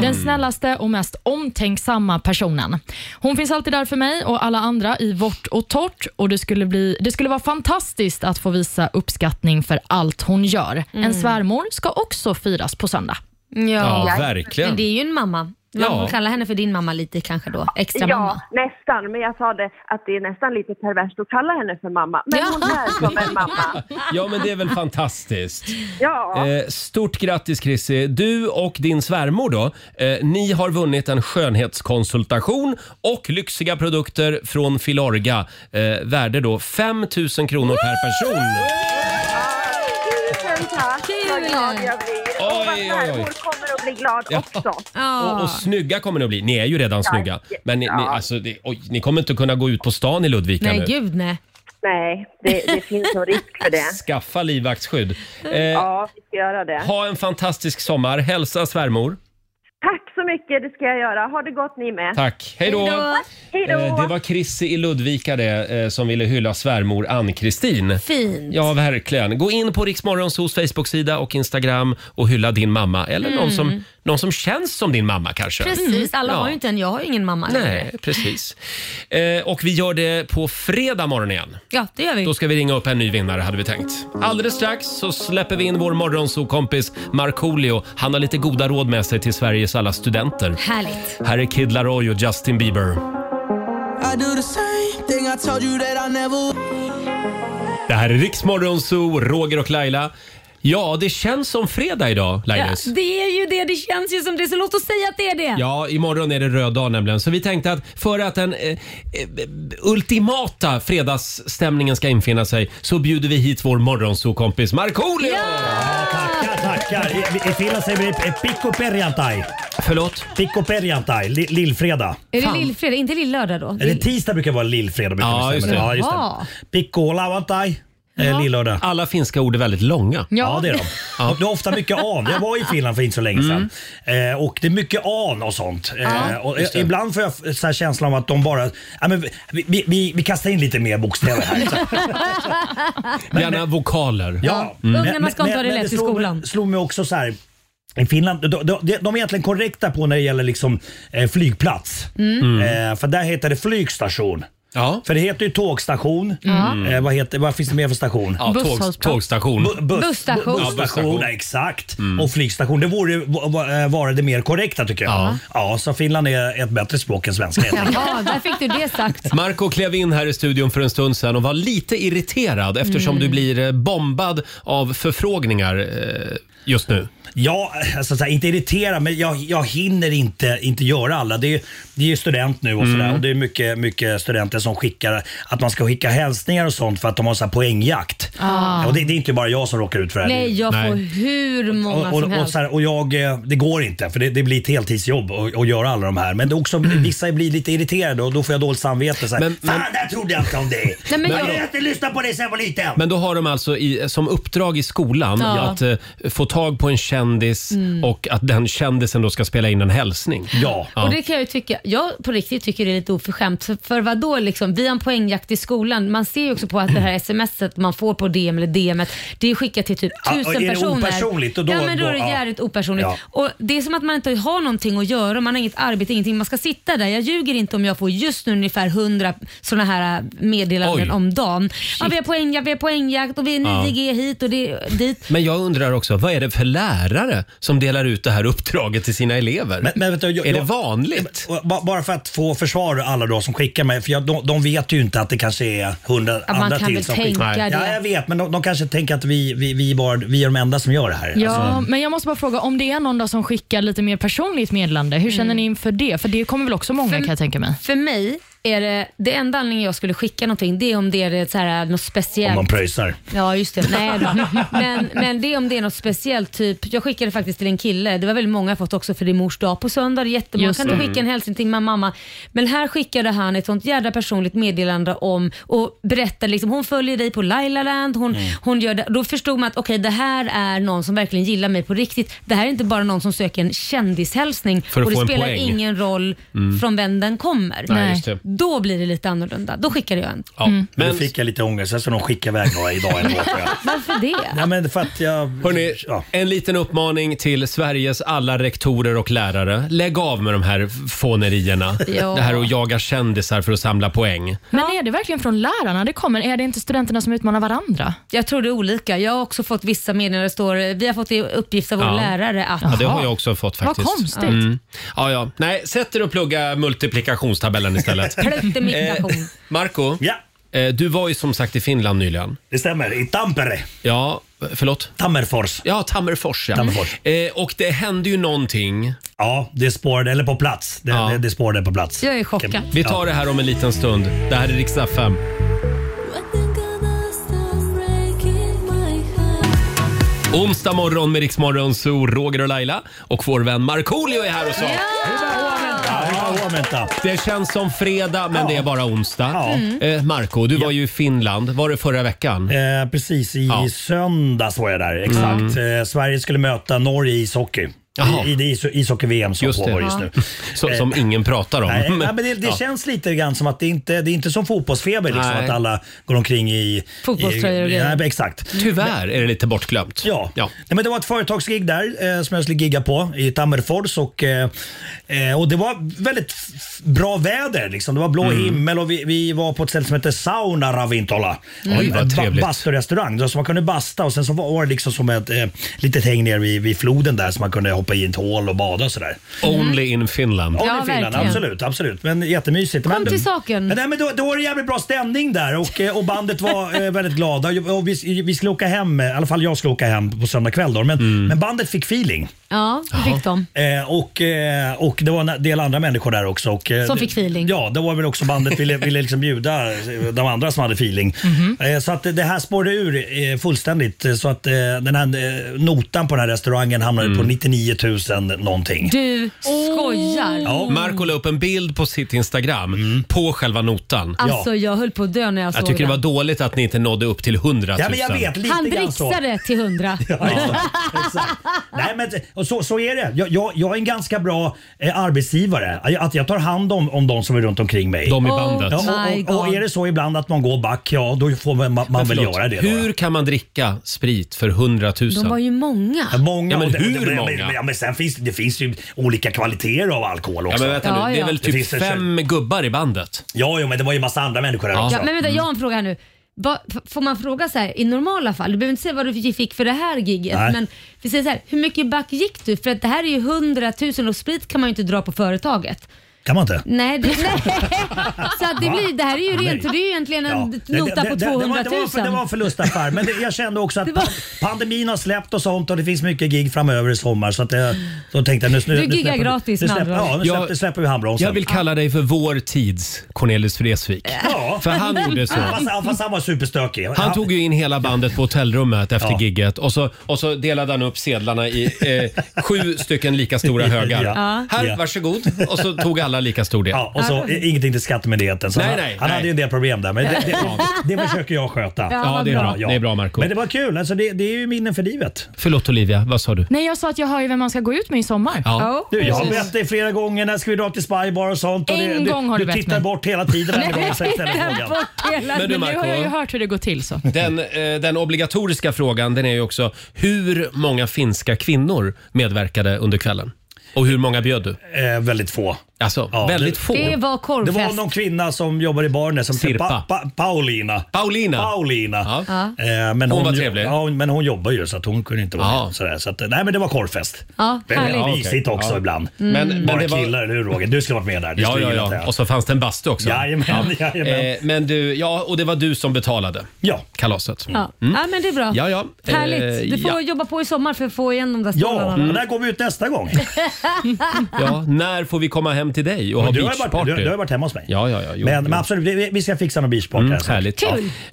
Den snällaste och mest omtänksamma personen. Hon finns alltid där för mig och alla andra i vårt och torrt och det skulle, bli, det skulle vara fantastiskt att få visa uppskattning för allt hon gör. En svärmor ska också firas på söndag. Ja, Ja. verkligen. Men det är ju en mamma. Man Ja. får kalla henne för din mamma lite kanske då. Extra Ja, mamma. nästan. Men jag sa det att det är nästan lite perverst att kalla henne för mamma. Men Ja. hon är [LAUGHS] som en mamma. Ja, men det är väl fantastiskt. Ja, Eh, stort grattis Chrissy! Du och din svärmor då, eh, ni har vunnit en skönhetskonsultation och lyxiga produkter från Filorga. Eh, värde då 5 000 kronor per person. tusen tack! Vad Kul. glad jag blir. Oj, Och vad oj, svärmor oj. kommer att bli glad Ja. också. Och, och snygga kommer ni att bli. Ni är ju redan snygga. Men ni, ni, alltså, det, oj, ni kommer inte kunna gå ut på stan i Ludvika Nej, nu. gud nej. Nej, det, det finns nog risk för det. Skaffa livvaktsskydd. Eh, Ja, vi ska göra det. Ha en fantastisk sommar. Hälsa svärmor. Tack så mycket, det ska jag göra. Ha det gott ni med. Tack. Hej då. Hej då. Eh, Det var Chrissy i Ludvika det, eh, som ville hylla svärmor Ann-Kristin. Fint. Ja, verkligen. Gå in på Riksmorgonsos Facebook-sida och Instagram och hylla din mamma. Eller någon, Mm. som, någon som känns som din mamma kanske. Precis, alla Mm, Ja. har ju inte en. Jag har ju ingen mamma. Nej, precis. Eh, och vi gör det på fredag morgon igen. Ja, det gör vi. Då ska vi ringa upp en ny vinnare hade vi tänkt. Alldeles strax så släpper vi in vår morgonsokompis Markoolio. Han har lite goda råd med sig till Sveriges alla studenter. Härligt. Här är Kid Laroi och Justin Bieber. I do the same thing I told you that I never Det här är Riksmorgon Zoo, Roger och Laila. Ja, det känns som fredag idag, Ja, Lailis. det är ju det, det känns ju som det, så låt oss säga att det är det. Ja, imorgon är det röd dag nämligen. Så vi tänkte att för att den eh, eh, ultimata fredagsstämningen ska infinna sig så bjuder vi hit vår morgonsokompis Markoolio! Tackar! I- I Finland säger vi eh, Pikku perjantai. Förlåt? Pikku perjantai, li- lillfredag. Är det Fan. lillfredag, inte lillördag då? Eller tisdag brukar vara lillfredag. Brukar Ja, vi säga, just men- det. Ja, just Mm. Ja. det. Pikku lauantai. Eh, lillördag. Alla finska ord är väldigt långa. Ja, det är de. Ja. Det är ofta mycket an. Jag var i Finland för inte så länge sedan. Eh, och det är mycket an och sånt. Eh, Ja. och Mm. Just det. ibland får jag så här känslan av att de bara... Ja, men vi, vi, vi, vi kastar in lite mer bokstäver [LAUGHS] här. [LAUGHS] Gärna vokaler. Ja. Mm. Ungarna ska inte ha det lätt i slog mig- skolan. slog mig också så här. I Finland, de, de, de de är egentligen korrekta på när det gäller liksom, eh, flygplats. Mm. Mm. Eh, för där heter det flygstation. För det heter ju tågstation. Mm. Eh, vad, heter, vad finns det mer för station? Ja, tåg- Busshållplats. tågstation. Bu, bus, Busstation. bu- Ja, busstation, busstation. exakt. Och flygstation. Det vore ju- va- va- eh, vara det mer korrekta tycker jag. Ja. så Finland är ett bättre språk än svenska. helt enkelt. Jaha, där fick du det sagt. Marco klev in här i studion för en stund sedan och var lite irriterad eftersom Mm. du blir eh, bombad av förfrågningar eh, just nu. Ja, alltså, så här, inte irritera men jag, jag hinner inte, inte göra alla. Det är, det är ju student nu och Mm. sådär och det är mycket, mycket studenter som skickar att man ska skicka hälsningar och sånt för att de har så här poängjakt. Ah. Och det, det är inte bara jag som råkar ut för det här. Nej, jag får hur många Och, och, som och, helst. så här, och jag, eh, det går inte för det, det blir ett heltidsjobb att att göra alla de här. Men det är också, vissa blir lite irriterade och då får jag dåligt samvete. Så här, Fan, där trodde jag inte om dig. [LAUGHS] Nej, men jag jag- ville inte lyssna på dig sen jag var liten. Men då har de alltså i, som uppdrag i skolan Ja. att eh, få tag på en kändis Mm. och att den kändisen då ska spela in en hälsning. Ja. Och det kan jag ju tycka, jag på riktigt tycker det är lite oförskämt. För, för vad då liksom, vi har en poängjakt i skolan. Man ser ju också på att det här smset man får på DM eller DM, det är skickat till typ Ja, och tusen är det personer. opersonligt, och då- ja men då, då- är det ja. jävligt opersonligt. Ja. Och det är som att man inte har någonting att göra, man har inget arbete, ingenting. Man ska sitta där. Jag ljuger inte om jag får just nu ungefär 100 sådana här äh, meddelanden Oj. om dagen. Ja, vi har poängjakt, vi har poängjakt och vi är 9 Ja. G hit och det, dit. Men jag undrar också, vad är det för lärare som delar ut det här uppdraget till sina elever? Men- men vet du, jag- är det jag- vanligt? Och ba- Bara för att få försvara alla då som skickar mig, för jag, de, de vet ju inte att det kanske är hundra man andra kan till väl som tänka skickar. det. Ja, jag vet, men de, de kanske tänker att vi, vi, vi, bara, vi är de enda som gör det här. Ja, Mm. Alltså, men jag måste bara fråga, om det är någon då som skickar lite mer personligt meddelande, hur känner ni inför det? För det kommer väl också många kan jag tänka mig? Mm. För mig är det, det enda anledningen jag skulle skicka någonting, det är om det är ett så här, något speciellt. om de pröjsar. Ja, just det. Nej då. Men, men det är om det är något speciellt. Typ, jag skickade faktiskt till en kille. Det var väldigt många jag fått också för det är mors dag på söndag. Det är Jättemånga. Just kan du det. skicka en hälsning till min mamma? Men här skickade han ett sånt jädra personligt meddelande om och berättade liksom, hon följer dig på Lailaland. Hon, Mm. hon gör det. Då förstod man att okej, det här är någon som verkligen gillar mig på riktigt. Det här är inte bara någon som söker en kändishälsning För att och det få en spelar poäng. ingen roll Mm. från vem den kommer. Nej, just det. Då blir det lite annorlunda. Då skickar jag en. Ja. Men då fick jag lite ångest, sen ska de skicka iväg några idag eller något. [LAUGHS] Varför det? Ja, men för att jag... Hörrni, en liten uppmaning till Sveriges alla rektorer och lärare. Lägg av med de här fånerierna. Ja. Det här att jaga kändisar för att samla poäng. Men är det verkligen från lärarna det kommer? Är det inte studenterna som utmanar varandra? Jag tror det är olika. Jag har också fått vissa meddelanden där det står vi har fått i uppgift av vår Ja. lärare att... Ja, det har jag också fått Vad faktiskt. Mm. konstigt. Ja, ja. Nej, sätt er och plugga [LAUGHS] multiplikationstabellen istället. Plöttemigration. Eh, Marco, eh, du var ju som sagt i Finland nyligen. Det stämmer, i Tampere. Ja, förlåt? Tammerfors. Ja, Tammerfors. Ja. Tammerfors. Eh, och det hände ju någonting. Ja, det spårade, eller på plats. Det, det, det spårade på plats. Jag är chockad. Vi tar det här om en liten stund. Det här är riksdag 5. Onsdag morgon med Riksmorgon, så Roger och Laila och vår vän Markoolio är här hos oss. Det känns som fredag, men det är bara onsdag. Ja. Mm. Eh, Marco, du var ju i Finland. Var det förra veckan? Mm. Eh, precis, i söndags var jag där. Exakt. Eh, Sverige skulle möta Norge i ishockey. Jaha. I, i det is- ishockey-VM som Just det. pågår just nu. Så, Eh, som ingen pratar [LAUGHS] om. Nej, nej, men det, det Ja. känns lite grann som att det inte det är inte som fotbollsfeber, liksom, Nej. att alla går omkring i... Fotbollströjor och i, grejer. nej, Exakt. Tyvärr är det lite bortglömt. Ja. Nej, men det var ett företagsgig där eh, som jag skulle gigga på i Tammerfors och, eh, eh, och det var väldigt f- f- bra väder. Liksom. Det var blå Mm. himmel och vi, vi var på ett ställe som heter Sauna Ravintola. Mm. Oj, vad En ba- trevligt. Basturestaurang där så man kunde basta och sen så var det liksom som ett eh, litet häng ner vid, vid floden där så man kunde hoppa i ett hål och bada och sådär. Only in Finland. Ja, Ja, det är Finland, verkligen. absolut, absolut. Men jättemysigt. Kom men, Mm. till saken. Men, nej, men då, då var det jävligt bra stämning där och, eh, och bandet var [LAUGHS] eh, väldigt glada. Och vi, vi skulle åka hem, eh, i alla fall jag skulle åka hem på söndag kväll då, men, Mm. men bandet fick feeling. Ja, det fick de. Eh, och, eh, och det var en del andra människor där också. Och, eh, Som fick feeling. Ja, det var väl också bandet ville, ville liksom bjuda de andra som hade feeling. Mhm. Eh, så att det här spårade ur eh, fullständigt. eh, Så att eh, den här eh, notan på den här restaurangen hamnade på 99 000 någonting. Mm. Du Mm. skojar. Marco la upp en bild på sitt Instagram Mm. på själva notan. Alltså jag höll på att dö när jag såg Jag tycker det var dåligt att ni inte nådde upp till 100 000. Ja, men jag vet, lite Han grann så. dricksade till hundra. Nej, men och så, så är det. Jag, jag, jag är en ganska bra eh, arbetsgivare. Att jag tar hand om, om de som är runt omkring mig. Oh De i bandet. Ja, my och, och, och God. är det så ibland att man går back, ja då får man, man, man Men väl förlåt, göra det. Hur kan man dricka sprit för 100 000? De var ju många. Då. Många, Ja, men och det- hur det- men- många? Men, ja, men sen finns, det- det finns ju olika kvaliteter av alkohol Ja, också. men vänta nu. Ja, Det är ja. väl typ finns en- fem gubbar i bandet? Ja, jo, men det var ju massa andra människor där Ja, också. men vänta, jag har en Mm. fråga här nu. Va, f- får man fråga så här i normala fall? Du behöver inte säga vad du fick för det här giget Nej. men vi säger så här, hur mycket back gick du? För att det här är ju 100 000 och sprit kan man ju inte dra på företaget. Mm. Kan man inte? Nej, det, [LAUGHS] nej. så att det, Va? blir, det här är ju rent, Nej. det är ju egentligen en Det- nota det- på det- 200 000. Det var, det, var, för- det var en förlustaffär, men det, jag [LAUGHS] kände också att pan- pandemin har släppt och sånt och det finns mycket gig framöver i sommar. Så att jag, då tänkte jag nu, Du nu, nu giggar släpper vi- gratis, nu med släpper, andra ord. Ja, nu Jag- släpper, släpper vi handbromsen. Jag vill kalla dig för vår tids Cornelis Vreeswijk. Ja. [LAUGHS] För han gjorde så. Fast, ja, fast han var superstökig. Han tog ju in hela bandet på hotellrummet efter Ja. gigget och så, och så delade han upp sedlarna i eh, sju stycken [LAUGHS] lika stora högar. Ja. Här, Ja. varsågod. Och så tog alla lika stor del. Ja, och så i- ingenting till skattemyndigheten. Så Nej, han nej, han nej. hade ju en del problem där, men det, det, [LAUGHS] Ja. det, försöker jag sköta. Ja, vad det är bra. bra. Det är bra, Marco. Men det var kul. Alltså, det, det är ju minnen för livet. Förlåt Olivia, vad sa du? Nej, jag sa att jag har ju vem man ska gå ut med i sommar. Du, jag har Precis. bett dig flera gånger när ska vi dra till Spybar och sånt. Och En du, gång har du du bett tittar mig. bort hela tiden. varje gång jag säger Nej, telefonen. bort hela- Men du, Men nu Marco. har jag ju hört hur det går till så. Den, eh, den obligatoriska frågan den är ju också hur många finska kvinnor medverkade under kvällen? Och hur många bjöd du? Eh, väldigt få. Alltså, Ja, väldigt det- få. Det var Det korvfest. var någon kvinna som jobbar i baren där som Sirpa. Pa, pa, Paulina. Paulina. Paulina. Ja. Eh, men Hon var trevlig. Ja, hon- men hon jobbar ju så att hon kunde inte vara med. Sådär, så att, nej men det var korvfest. Ja, Det är härligt. Ja, mysigt okej. också Ja. ibland. Mm. Men- men Bara det var- killar, eller hur Roger? Du skulle varit med där. Du Ja, skulle ja, gillat det ja. här. Och så fanns det en bastu också. Jajamän, jajamän. Eh, men du, ja, och det var du som betalade ja. kalaset. Mm. Ja. ja, men det är bra. Ja, ja. Härligt. Eh, Du får ja. jobba på i sommar för att få igen de där Ja, stålarna. va? [LAUGHS] och där går vi ut nästa gång. Ja, när får vi komma hem till dig och Men ha du, har ju varit, beachparty? du, du har ju varit hemma hos mig. Ja, ja, ja. Jo, men, jo. men absolut, vi, vi ska fixa någon beachparty. Mm, här snart. härligt.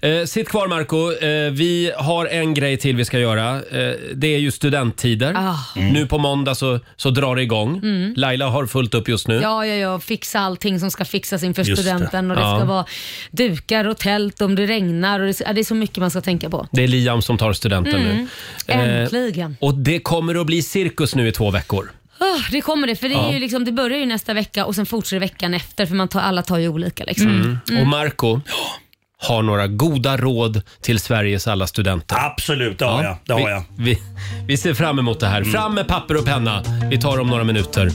Ja. Eh, sitt kvar Marco. Eh, vi har en grej till vi ska göra. Eh, det är ju studenttider. Ah. Mm. Nu på måndag så, så drar det igång. Mm. Laila har fullt upp just nu. Ja, ja, ja. Fixa allting som ska fixas inför Just det. studenten. Och det Ja. ska vara dukar och tält om det regnar. Och det, ja, det är så mycket man ska tänka på. Det är Liam som tar studenten Mm. nu. Eh, Äntligen. och det kommer att bli cirkus nu i två veckor. Ah, det kommer det, för det, är Ja. ju liksom, det börjar ju nästa vecka och sen fortsätter veckan efter. För man tar, alla tar ju olika. Liksom. Mm. Och Mm. Marco har några goda råd till Sveriges alla studenter. Absolut, det har jag. Det har jag. Mm. Vi, vi, vi ser fram emot det här. Fram med papper och penna. Vi tar om några minuter.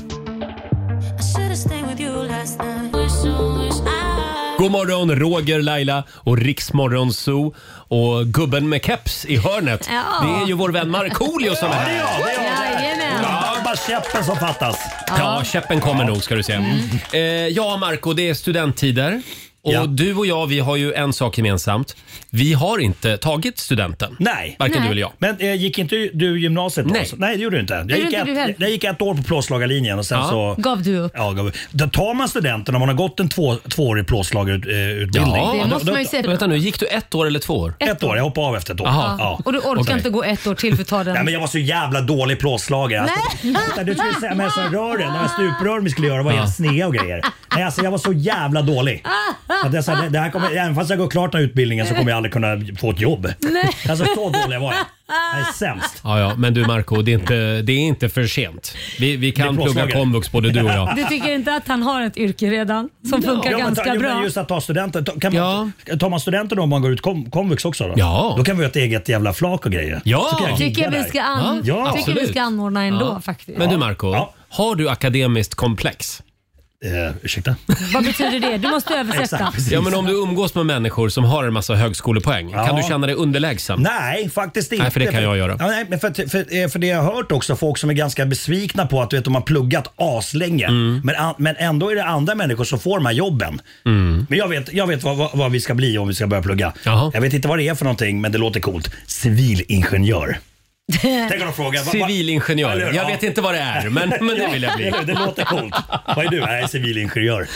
God morgon, Roger, Laila och Riksmorgon Zoo och gubben med keps i hörnet. Ja. Det är ju vår vän Markoolio som är här. Jajamän. Ja, det är bara käppen som fattas. Ja, käppen kommer nog ska du se. Mm. Eh, ja, Marco, det är studenttider. Och du och jag, vi har ju en sak gemensamt. Vi har inte tagit studenten. Nej. Varken Nej. du eller jag. Men eh, gick inte du gymnasiet då? Nej. Så- Nej, det gjorde du inte. Jag gjorde gick, inte du heller. ett, jag gick ett år på plåtslagarlinjen och sen Ja. så... Gav du upp? Ja, gav- då tar man studenten om man har gått en två, tvåårig plåtslagarutbildning. Ja, Det måste då, man ju säga. Vänta nu, gick du ett år eller två år? då, ett år, jag hoppade av efter ett år. Aha. Ja. Och du orkar Okej. inte gå ett år till för att ta den. Nej, men jag var så jävla dålig plåtslagare. Alltså, vänta, du skulle säga med så här rören, de här stuprören vi skulle göra var helt sneda och grejer. Nej, alltså jag var så jävla dålig. Så att jag sa, det- det här kommer, även fast jag går klart den här utbildningen så kommer jag aldrig kunna få ett jobb. Nej. Alltså så dålig var jag. Jag är sämst. Ja, ja, men du Marco, det är inte, det är inte för sent. Vi, vi kan Det är plugga plåtslaget. komvux både du [LAUGHS] och jag. Du tycker inte att han har ett yrke redan som funkar Ja, men ganska ta- jo, men bra? Just att ta studenten. ta- Kan man, Tar man studenten då om man går ut kom, komvux också? Då? Ja. Då kan vi ha ett eget jävla flak och grejer. Ja. Så kan jag Tycker jag gigga vi där. ska, an- Ja, tycker vi absolut. ska anordna ändå Ja. faktiskt. Men du Marco, har du akademiskt komplex? Eh, ursäkta? Vad betyder det? Du [LAUGHS] måste översätta. Ja, men om du umgås med människor som har en massa högskolepoäng, Ja. kan du känna dig underlägsen? Nej, faktiskt inte. Nej, för det kan jag göra. Ja, nej, men för, att- för, eh, för det jag har hört också, folk som är ganska besvikna på att du vet, de har pluggat aslänge, Mm. men, an- men ändå är det andra människor som får de här jobben. Mm. Men jag vet, jag vet vad, vad, vad vi ska bli om vi ska börja plugga. Jag vet inte vad det är för någonting, men det låter coolt. Civilingenjör. Tänk om de frågar. vad- vad- Eller Civilingenjör. hur? Jag Ja. vet inte vad det [LAUGHS] är, men, men det vill jag bli. Eller hur? Det låter coolt. Vad är du? Jag är [LAUGHS] civilingenjör.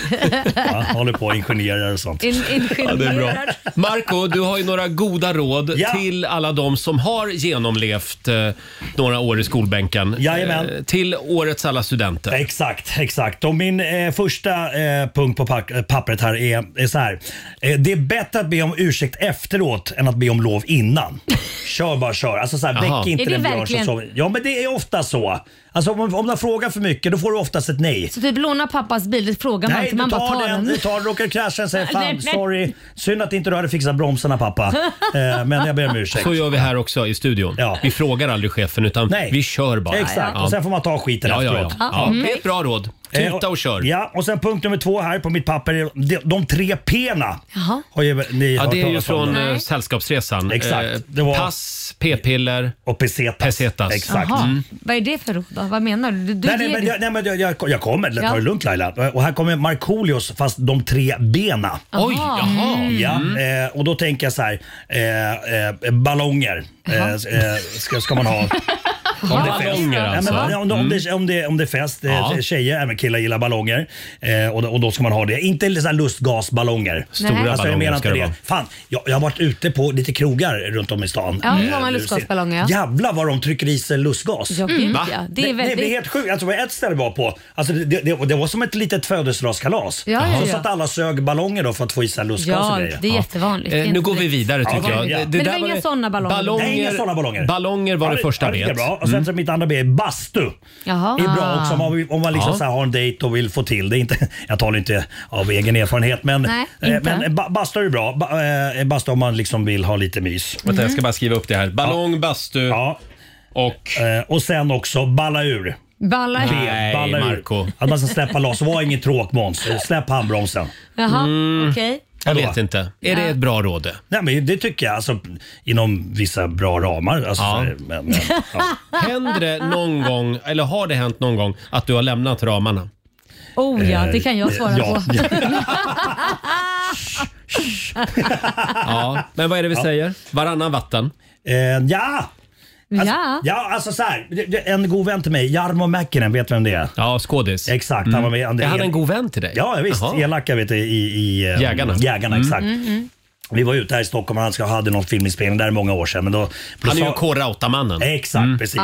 Ja, håller på och ingenjörer och sånt. In, ingenjör. Ja, det är bra. Marco, du har ju några goda råd Ja. till alla de som har genomlevt eh, några år i skolbänken. Jajamän. Eh, till årets alla studenter. Exakt, exakt. Och min eh, första eh, punkt på pack- eh, pappret här är, är så här. Eh, det är bättre att be om ursäkt efteråt än att be om lov [LAUGHS] innan. Kör bara kör. Alltså så här, Jaha. väck inte Är det den björn som verkligen? sover. Ja men det är ofta så. Alltså om, om de frågar för mycket då får du oftast ett nej. Så typ låna pappas bil, det frågar man Nej, inte. du Man bara tar tar den, du den. tar den, råkar krascha den [LAUGHS] säger Nej, fan nej. sorry. Synd att inte du hade fixat [LAUGHS] bromsarna pappa. Eh, men jag ber om ursäkt. Så gör vi här också i studion. Vi frågar aldrig chefen utan Nej. vi kör bara. Exakt, och sen får man ta skiten ja, ja, ja. efteråt. ja. Mm. Det är ett bra råd. Eh, Tuta och kör. Ja, och sen punkt nummer två här på mitt papper. är De, de tre P'na. Har ju ni Ja, hört det är ju talas om. från eh, Sällskapsresan. Exakt. Eh, Det var- Pass, p-piller och pesetas. Exakt. Jaha. Mm. Vad är det för råd då? Vad menar du? Du, du Nej, nej, ger men, jag, nej, men jag, jag, jag kommer. Ta Ja. det lugnt Laila. Och här kommer Markoolios fast de tre bena. Oj, jaha. Mm. Ja, eh, och då tänker jag så här. Eh, eh, ballonger eh, eh, ska, [LAUGHS] ska man ha. Om det är fest. Ballonger Ja, men, alltså. om- om, om, det, om, det, om det är fest, eh, Ja. tjejer, även killar gillar ballonger. Eh, och, då- och då ska man ha det. Inte så här lustgasballonger. Stora alltså, jag ballonger menar ska inte det det. vara. Fan, jag, jag har varit ute på lite krogar runt om i stan. Ja, hur Eh, många nu lustgasballonger, sen- ja. Jävlar vad de trycker i sig lustgas. Mm. Ja, gud, Va? ja. Det är Det, väldigt- det blir helt sjukt. Alltså, det var ett ställe vi var på, alltså, det, det, det var som ett litet födelsedagskalas. Ja, ja, Så ja. satt alla sög ballonger då för att få i sig lustgas Ja, och grejer. det är jättevanligt. Det är Eh, nu inte går vi det. vidare tycker Ja, jag. okej, ja. Men det var där inga ju- sådana ballonger. ballonger. Nej, inga sådana ballonger. Ballonger var Ja, det första ja, det är bet. Mm. bra. Och sen så mitt andra B är bastu. Jaha. Det är Ah. bra också om [LAUGHS] man, om man liksom Ja. så här har en dejt och vill få till det. Inte, jag talar inte av egen erfarenhet men, Nej, eh, inte. men ba- bastu är bra. Ba, eh, bastu om man liksom vill ha lite mys. Vänta, jag ska bara skriva upp det här. Ballong, bastu och... Eh, och sen också balla ur. Balla B, Nej, balla Marco. ur. Att man ska släppa loss. Var ingen tråk Måns. Eh, Släpp handbromsen. Jaha, Mm. okej. Mm. Jag Vadå? vet inte. Är det ett bra råd? Nej, men det tycker jag. Alltså, inom vissa bra ramar. Alltså, Ja. så här, men, men, Händer det någon gång, eller har det hänt någon gång, att du har lämnat ramarna? Oh ja, det kan jag Eh, svara ja. på. Ja, men vad är det vi säger? Varannan vatten? eh, ja! Alltså, Ja. Ja, alltså så här. det- det- En god vän till mig, Jarmo Mäkinen, vet vem det är? Ja, skådis. Exakt, han var med. Är han en god vän till dig? Ja, visst. Jaha. Elaka vet du, i, i eh, Jägarna. Jägarna, Mm. exakt. Vi var ute här i Stockholm och han ska, hade någon filminspelning där många år sedan. Men då, Han är ju K-Rauta-mannen. Mm. Exakt, precis.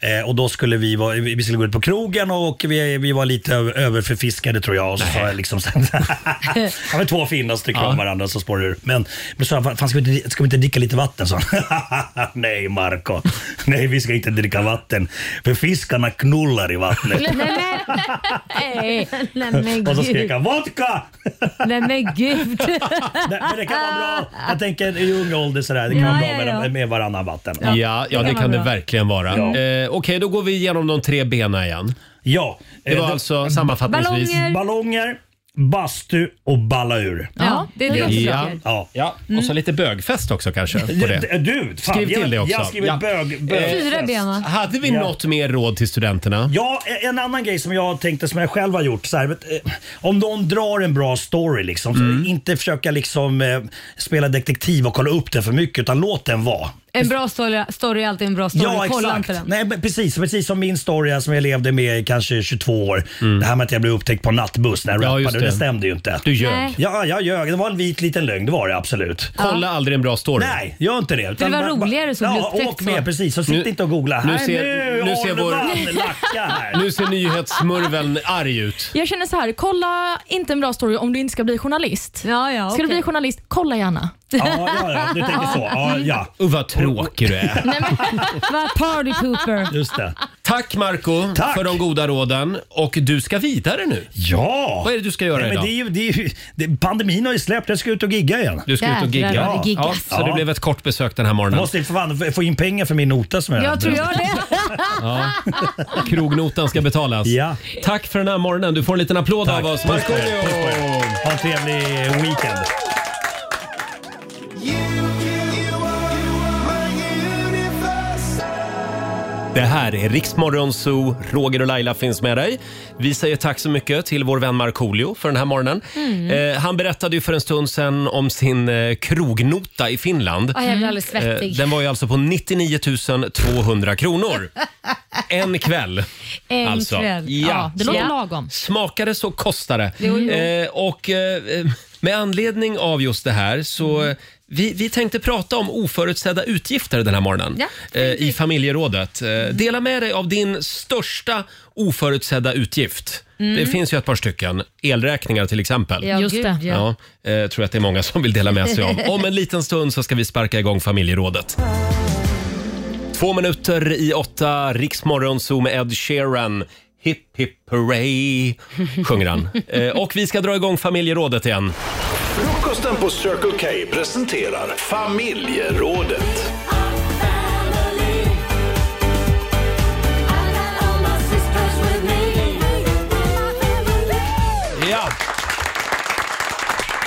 Eh, och då skulle vi, vara, vi vi skulle gå ut på krogen och vi, vi var lite ö- överförfiskade tror jag. Och så sa jag liksom så här, [LAUGHS] ja, men två finnar som tycker om varandra så spårar det ur. Men då sa jag, "Fan, ska vi, inte, ska vi inte dricka lite vatten? Så. [LAUGHS] Nej Marco, nej vi ska inte dricka vatten. För fiskarna knullar i vattnet. Nej, nej, [LAUGHS] nej. Nej, men och så skrek gud. han vodka! Nej, men gud. [LAUGHS] Nej, men det kan vara bra. Jag tänker i ung ålder sådär. Det kan Ja, vara bra ja, ja. med, med varannan vatten. Ja, ja, det kan det verkligen vara. Ja. Eh, Okej, då går vi igenom de tre benen igen. Ja. Det var Eh, alltså sammanfattningsvis... Ballonger. Ballonger, bastu och balla ur. Ja, det Mm. är det Ja. jag Ja. ja, och så lite bögfest också kanske. På Ja, det. Du, fan, Skriv jag, till det också. Jag har skrivit Ja. Eh, bög, bög Fyra ben va? Hade vi Ja. något mer råd till studenterna? Ja, e- en annan grej som jag tänkte som jag själv har gjort. Så här, vet, eh, om någon drar en bra story, liksom, Mm. så inte försöka liksom, eh, spela detektiv och kolla upp den för mycket utan låt den vara. En bra story, story är alltid en bra story. Ja, Kolla exakt. inte den. Nej, men precis, precis som min story här som jag levde med i kanske 22 år. Det här med att jag blev upptäckt på en nattbuss när jag Mm. Ja, just rappade. Det. det. det stämde ju inte. Du ljög. Nej. Ja, jag ljög. Det var en vit liten lögn, det var det absolut. Kolla aldrig en bra story. Nej, gör inte det. det var bara- bara- roligare så att bli Ja, upptäckt åk så. med precis. Så sitt Nu- inte och googla. Nu Nej, ser, nu, nu nu har ser du vår... vann, lacka här. [LAUGHS] Nu ser nyhetssmurveln arg ut. Jag känner så här, kolla inte en bra story om du inte ska bli journalist. Ja, ja, ska du bli journalist, kolla gärna. [LAUGHS] ja. Och vad tråkig du är. Vad party pooper. Just det. Tack Marco för de goda råden. Och du ska vidare nu. Ja! Vad är det du ska göra Nej, men idag? det är ju, det är ju, det, pandemin har ju släppt, jag ska ut och gigga igen. Du ska ut och gigga. Ja. Ja, så det blev ett kort besök den här Jag morgonen. måste ju för fan få in pengar för min nota som jag hade. det. Ja. Krognotan ska betalas. Ja. Tack för den här morgonen. Du får en liten applåd Tack. av oss. Puss på Marco. er, puss på er. Ha en trevlig weekend. Det här är Riksmorgon Zoo. Roger och Laila finns med dig. Vi säger tack så mycket till vår vän Markoolio för den här morgonen. Mm. Eh, han berättade ju för en stund sedan om sin eh, krognota i Finland. Ja, jag blir alldeles svettig. den var ju alltså på 99 200 kronor. En kväll. En alltså. kväll. Ja, det låter lagom. Smakar det så kostar det. Jo, jo. Eh, och eh, med anledning av just det här så Mm. eh, vi, vi tänkte prata om oförutsedda utgifter den här morgonen Ja, Mm. eh, i familjerådet. Eh, Dela med dig av din största oförutsedda utgift. Mm. Det finns ju ett par stycken. Elräkningar till exempel. Ja, Just gud, det. ja. Ja, eh, tror jag att det är många som vill dela med [LAUGHS] sig av. Om en liten stund så ska vi sparka igång familjerådet. Två minuter i åtta, Riksmorgon Zoo med Ed Sheeran. Hipp hipp hurray, sjunger han. [LAUGHS] Eh, och vi ska dra igång familjerådet igen. Frukosten på Circle K presenterar familjerådet. Ja.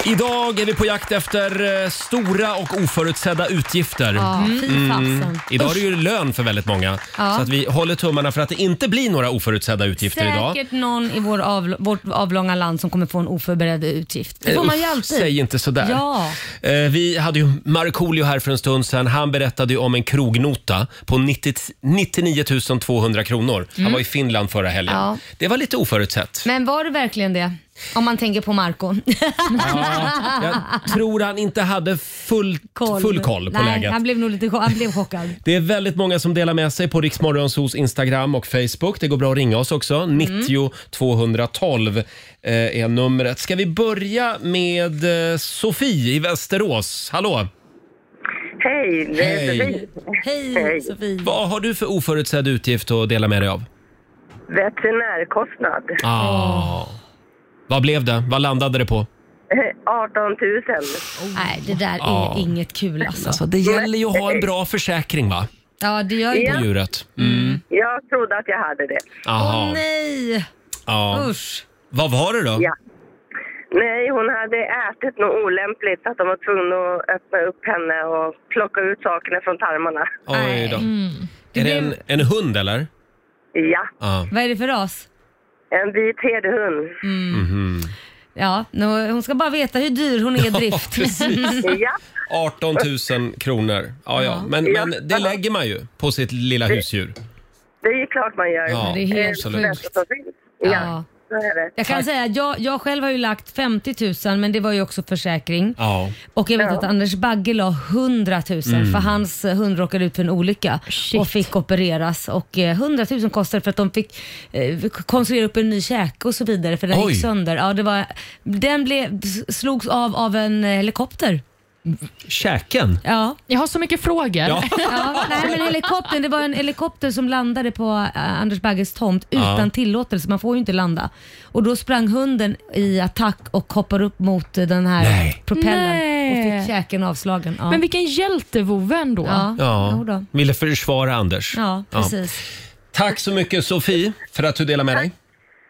Idag är vi på jakt efter eh, stora och oförutsedda utgifter. Mm. Ja, fy fasen. Idag är det ju lön för väldigt många. Ja. Så att vi håller tummarna för att det inte blir några oförutsedda utgifter idag. Säkert någon i vår av, vårt avlånga land som kommer få en oförberedd utgift. Det får Eh, man ju usch, alltid. Säg inte sådär. Ja. Eh, Vi hade ju Markoolio här för en stund sedan. Han berättade ju om en krognota på 90, 99 200 kronor. Han Mm. var i Finland förra helgen. Ja. Det var lite oförutsett. Men var det verkligen det? Om man tänker på Marco [LAUGHS] Jag tror han inte hade full koll, full koll på Nej, läget. Han blev nog lite chock- han blev chockad. Det är väldigt många som delar med sig på Riksmorgonsos Instagram och Facebook. Det går bra att ringa oss också. Mm. 90 212 eh, är numret. Ska vi börja med eh, Sofie i Västerås? Hallå! Hej, det är Hej. Sofie. Hej. Sofie. Vad har du för oförutsedd utgift att dela med dig av? Veterinärkostnad. Ah. Vad blev det? Vad landade det på? Eh, 18 000. Nej, det där är Ja. inget kul alltså. [LAUGHS] Alltså, det gäller ju att ha en bra försäkring va? Ja, det gör ju På det. djuret. Mm. Jag trodde att jag hade det. Aha. Åh nej! Ja. Usch. Vad var det då? Ja. Nej, hon hade ätit något olämpligt så att de var tvungna att öppna upp henne och plocka ut sakerna från tarmarna. Oj då. Mm. Är det en, en hund eller? Ah. Ja, Ja. Vad är det för ras? Mm. en vit herdehund. Mhm. Ja, nu- hon ska bara veta hur dyr hon är i Ja, drift. [LAUGHS] precis. ja. 18 000 kronor. Ja, ja. Men, men det lägger man ju på sitt lilla husdjur. Det är klart man gör. Ja, Det är helt det absolut. bästa som finns. Ja, Ja. så är det. Jag kan säga att jag, jag själv har ju lagt 50 000 men det var ju också försäkring. Ja. Och jag vet att Anders Bagge la 100 000 Mm. för hans eh, hund råkade ut för en olycka och fick opereras. Och eh, 100 000 kostade för att de fick eh, konstruera upp en ny käke och så vidare för den Oj. gick sönder. Ja, det var, den blev, slogs av av en eh, helikopter. Käken? Ja. Jag har så mycket frågor. [LAUGHS] Ja. Ja, nej, men helikoptern, det var en helikopter som landade på eh, Anders Bagges tomt utan Ja. tillåtelse. Man får ju inte landa. Och då sprang hunden i attack och hoppade upp mot eh, den här Nej. propellen och Nej. fick käken avslagen. Ja. Men vilken hjältevovve ändå. Ja. Jo Ja. då. Ville försvara Anders. Ja, precis. Tack så mycket Sofie för att du delar med dig.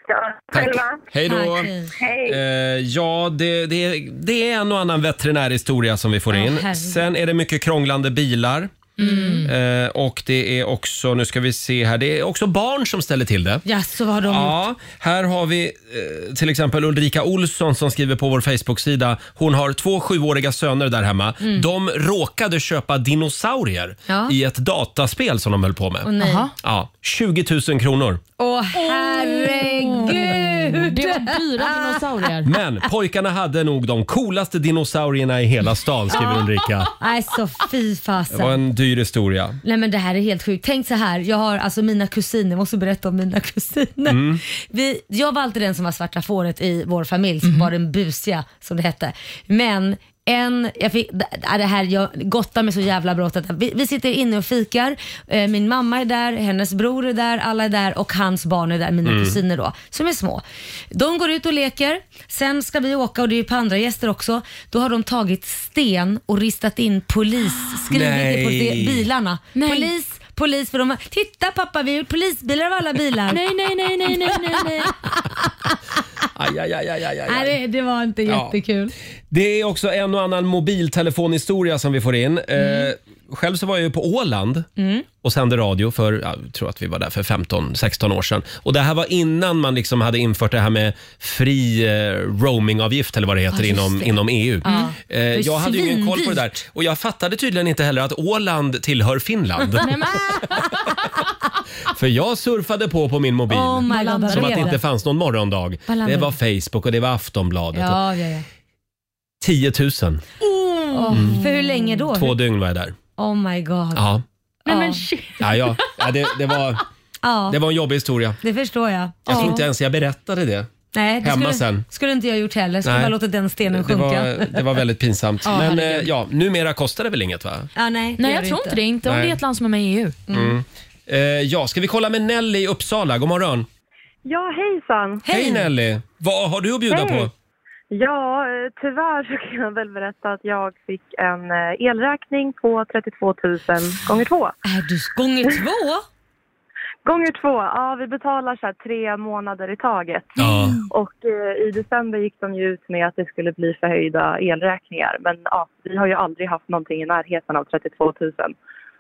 Ja, Tack. själva. Hej då. Tack. Hej. Eh, ja, det, det, är- det är en och annan veterinärhistoria som vi får Ja, in. herregud. Sen är det mycket krånglande bilar. Mm. Mm. Eh, och det är också, nu ska vi se här, det är också barn som ställer till det. Ja, så vad har de gjort? Ja, här har vi eh, till exempel Ulrika Olsson som skriver på vår Facebook-sida. Hon har två sjuåriga söner där hemma. Mm. De råkade köpa dinosaurier Ja. i ett dataspel som de höll på med. Åh, nej. Ja, 20 000 kronor. Åh herregud! Det Stora dyra dinosaurier. Men pojkarna hade nog de coolaste dinosaurierna i hela stan, skriver Ulrika. Nej, så fy Det var fasen. en dyr historia. Nej men det här är helt sjukt. Tänk så här, jag har alltså mina kusiner, jag måste berätta om mina kusiner. Mm. Vi, jag var alltid den som var svarta fåret i vår familj, Mhm. som var den busiga som det hette. Men en, jag fick, d- äh, det här, jag gottar mig så jävla bra åt detta. Vi, vi sitter inne och fikar, Eh, min mamma är där, hennes bror är där, alla är där och hans barn är där, mina Mm. kusiner då, som är små. De går ut och leker, sen ska vi åka och det är ju på andra gäster också. Då har de tagit sten och ristat in polis, skrivit Nej. det på de- bilarna. Polis, polis, för de har, titta pappa vi är polisbilar av alla bilar. Nej, nej, nej, nej, nej, nej, [LAUGHS] nej. Aj, aj, aj, aj, aj, aj. Nej, det, det var inte Ja. jättekul. Det är också en och annan mobiltelefonhistoria som vi får in. Mm. Eh, själv så var jag ju på Åland Mm. och sände radio för, ja, jag tror att vi var där för 15-16 år sedan. Och det här var innan man liksom hade infört det här med fri eh, roamingavgift eller vad det Ja, heter just inom, det. inom EU. Mm. Eh, Det är jag hade ju ingen koll på det där svindyrt. och jag fattade tydligen inte heller att Åland [LAUGHS] tillhör Finland. Nej, men, för jag surfade på på min mobil Oh my God, vad som att blev det inte det? fanns någon morgondag. Vad landade Det var Facebook och det var Aftonbladet. Och Ja, ja, ja. 10 000. Åh, Mm. För hur länge då? Två dygn var jag där. Oh my god. Ja. Nej men shit. Ja, ja. ja det, det, var, Ja, det var en jobbig historia. det förstår jag. Jag tror Ja. inte ens jag berättade det. Nej, det hemma skulle, sen. skulle inte jag gjort heller. Skulle Nej. bara låtit den stenen Det sjunka. var, det var väldigt [LAUGHS] pinsamt. Ja, Men eh, herregud. ja, numera kostar det väl inget va? Ja, nej, nej, gör jag tror inte det. Inte om Nej. det är ett land som är med i E EU. Mm. Eh, ja, ska vi kolla med Nelly i Uppsala? God morgon. Ja, hejsan. Hej, Nelly! Vad har du att bjuda Hej. på? Ja, eh, tyvärr så kan jag väl berätta att jag fick en eh, elräkning på 32 000 gånger två. Är du gånger två? [LAUGHS] gånger två, ja vi betalar så här tre månader i taget. Mm. Och eh, i december gick de ju ut med att det skulle bli förhöjda elräkningar. Men ja, vi har ju aldrig haft någonting i närheten av 32 000.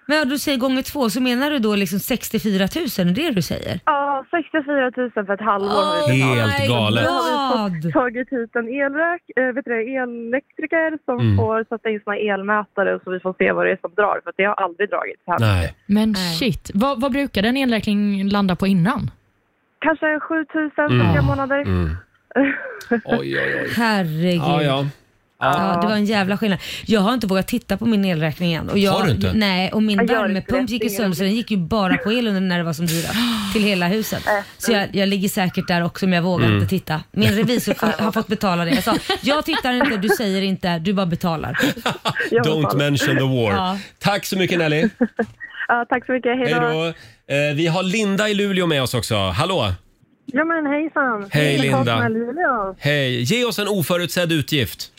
Men ja, du säger gånger två, så menar du då liksom 64 000? Är det det du säger? Ja, 64 000 för ett halvår har vi Helt betalat. galet. Då har vi fått- tagit hit en elräk, äh, vet du, det, elektriker som Mm. får sätta in sina elmätare så vi får se vad det är som drar. För att det har aldrig dragit här. Nej. Men shit, vad, vad brukade en elräkning landa på innan? Kanske 7 000 för Mm. tre månader. Oj, oj, oj. Herregud. Ja, ja. Ja, det var en jävla skillnad. Jag har inte vågat titta på min elräkning än. Och jag, Har du inte? Nej, och min Jag gör inte värmepump det. gick ju sönder så den gick ju bara på el under när det var som dyrast. Till hela Äh. huset. Så jag, jag ligger säkert där också men jag vågar Mm. inte titta. Min [LAUGHS] revisor får, har fått betala det. Jag sa, jag tittar inte, du säger inte, du [LAUGHS] bara betalar. Don't mention the war. Ja. Tack så mycket Nelly. Ja, tack så mycket, Hej hej då. då. Eh, vi har Linda i Luleå med oss också. Hallå! Ja men hejsan. Hej, Det är Karl Linda. från Luleå. Hej! Ge oss en oförutsedd utgift.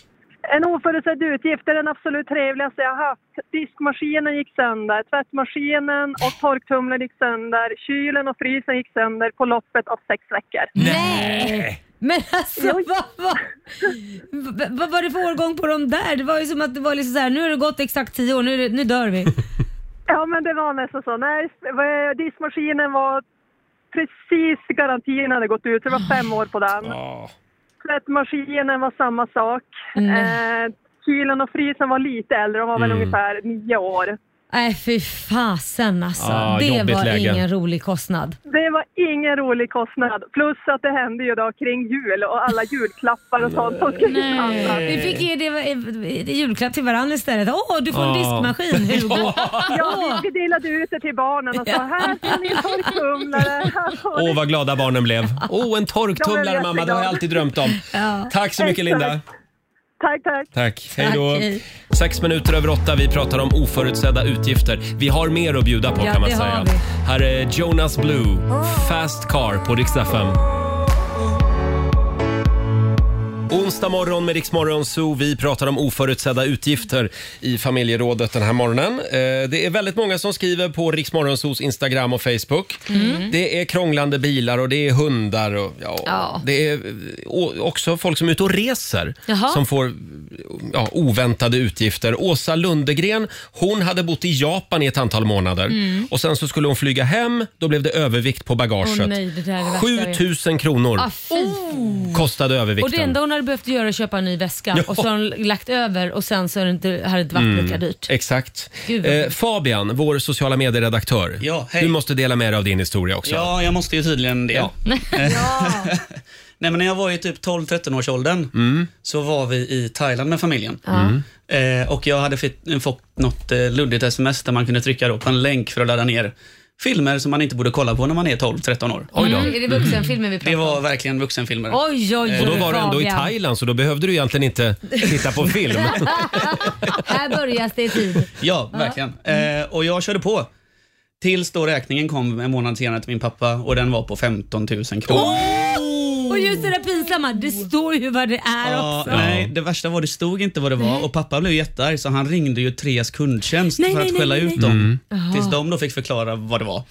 En oförutsedd utgift är den absolut trevligaste jag har haft. Diskmaskinen gick sönder, tvättmaskinen och torktumlaren gick sönder, kylen och frysen gick sönder på loppet av sex veckor. Nej! Men alltså vad, vad, vad, vad var det för årgång på de där? Det var ju som att det var liksom så här, nu har det gått exakt tio år, nu, är det- nu dör [LAUGHS] vi. Ja, men det var nästan så. Nej, eh, diskmaskinen var precis garantin hade gått ut. Det var fem år på den. Tvättmaskinen var samma sak. Nej. Eh, kylen och frysen var lite äldre. De var väl Mm. ungefär nio år. Nej fy fasen alltså. Ja, det jobbigt var läge. ingen rolig kostnad. Det var ingen rolig kostnad. Plus att det hände ju då kring jul och alla julklappar och sånt som skulle handlas. Vi fick ge det det är julklapp till varandra istället. Åh, du får en Ja. diskmaskin Hugo. Ja, vi delade ut det till barnen och sa här får ni torktumlare. här får ni-" Åh, vad glada barnen blev. Åh, en De torktumlare blev mamma, det har jätteglada. jag alltid drömt om. Ja. Tack så mycket Exakt. Linda. Tack, tack. Tack. Hej då. Tack, hej. Sex minuter över åtta, vi pratar om oförutsedda utgifter. Vi har mer att bjuda på Ja, kan man det har säga. vi. Här är Jonas Blue, Fast Car på riksdag 5. Onsdag morgon med Riksmorgon Zoo. Vi pratar om oförutsedda utgifter i familjerådet den här morgonen. Eh, Det är väldigt många som skriver på Riksmorgon Zoos Instagram och Facebook. Mm. Det är krånglande bilar och det är hundar och ja, Ja. det är eh, o- också folk som är ute och reser Jaha. som får ja, oväntade utgifter. Åsa Lundegren, hon hade bott i Japan i ett antal månader Mm. och sen så skulle hon flyga hem. Då blev det övervikt på bagaget. Åh, nej, det där är det värsta jag vet. 7 000 kronor Ah, fy. kostade Och Oh. övervikten. det enda hon hade behövt göra är att köpa en ny väska Ja. och så har de lagt över och sen så har det inte, har det inte varit Mm. lika dyrt. Mm. Exakt. Gud, vad Eh, Fabian, vår sociala medieredaktör. Ja, du måste dela med dig av din historia också. Ja, jag måste ju tydligen det. Nej, men när jag var i typ 12-13 års åldern så var vi i Thailand med familjen. Mm. Eh, och jag hade fitt- fått något eh, luddigt sms där man kunde trycka då på en länk för att ladda ner filmer som man inte borde kolla på när man är 12-13 år. Mm, är det vuxenfilmer vi Det pratar om? var verkligen vuxenfilmer. Eh, Oj, oj, oj. Och då var du ändå i Fabian. Thailand så då behövde du egentligen inte titta [LAUGHS] på film. Här börjar det i tid. Ja, verkligen. Mm. Eh, och jag körde på. Tills då räkningen kom en månad senare till min pappa och den var på 15 000 kronor. Och just det där pinsamma, det står ju vad det är Ja, också. nej, det värsta var det stod inte vad det var och pappa blev jättearg så han ringde ju Treas kundtjänst Nej, för att nej, nej, skälla nej, ut nej. dem. Mm. Tills Jaha. de då fick förklara vad det var.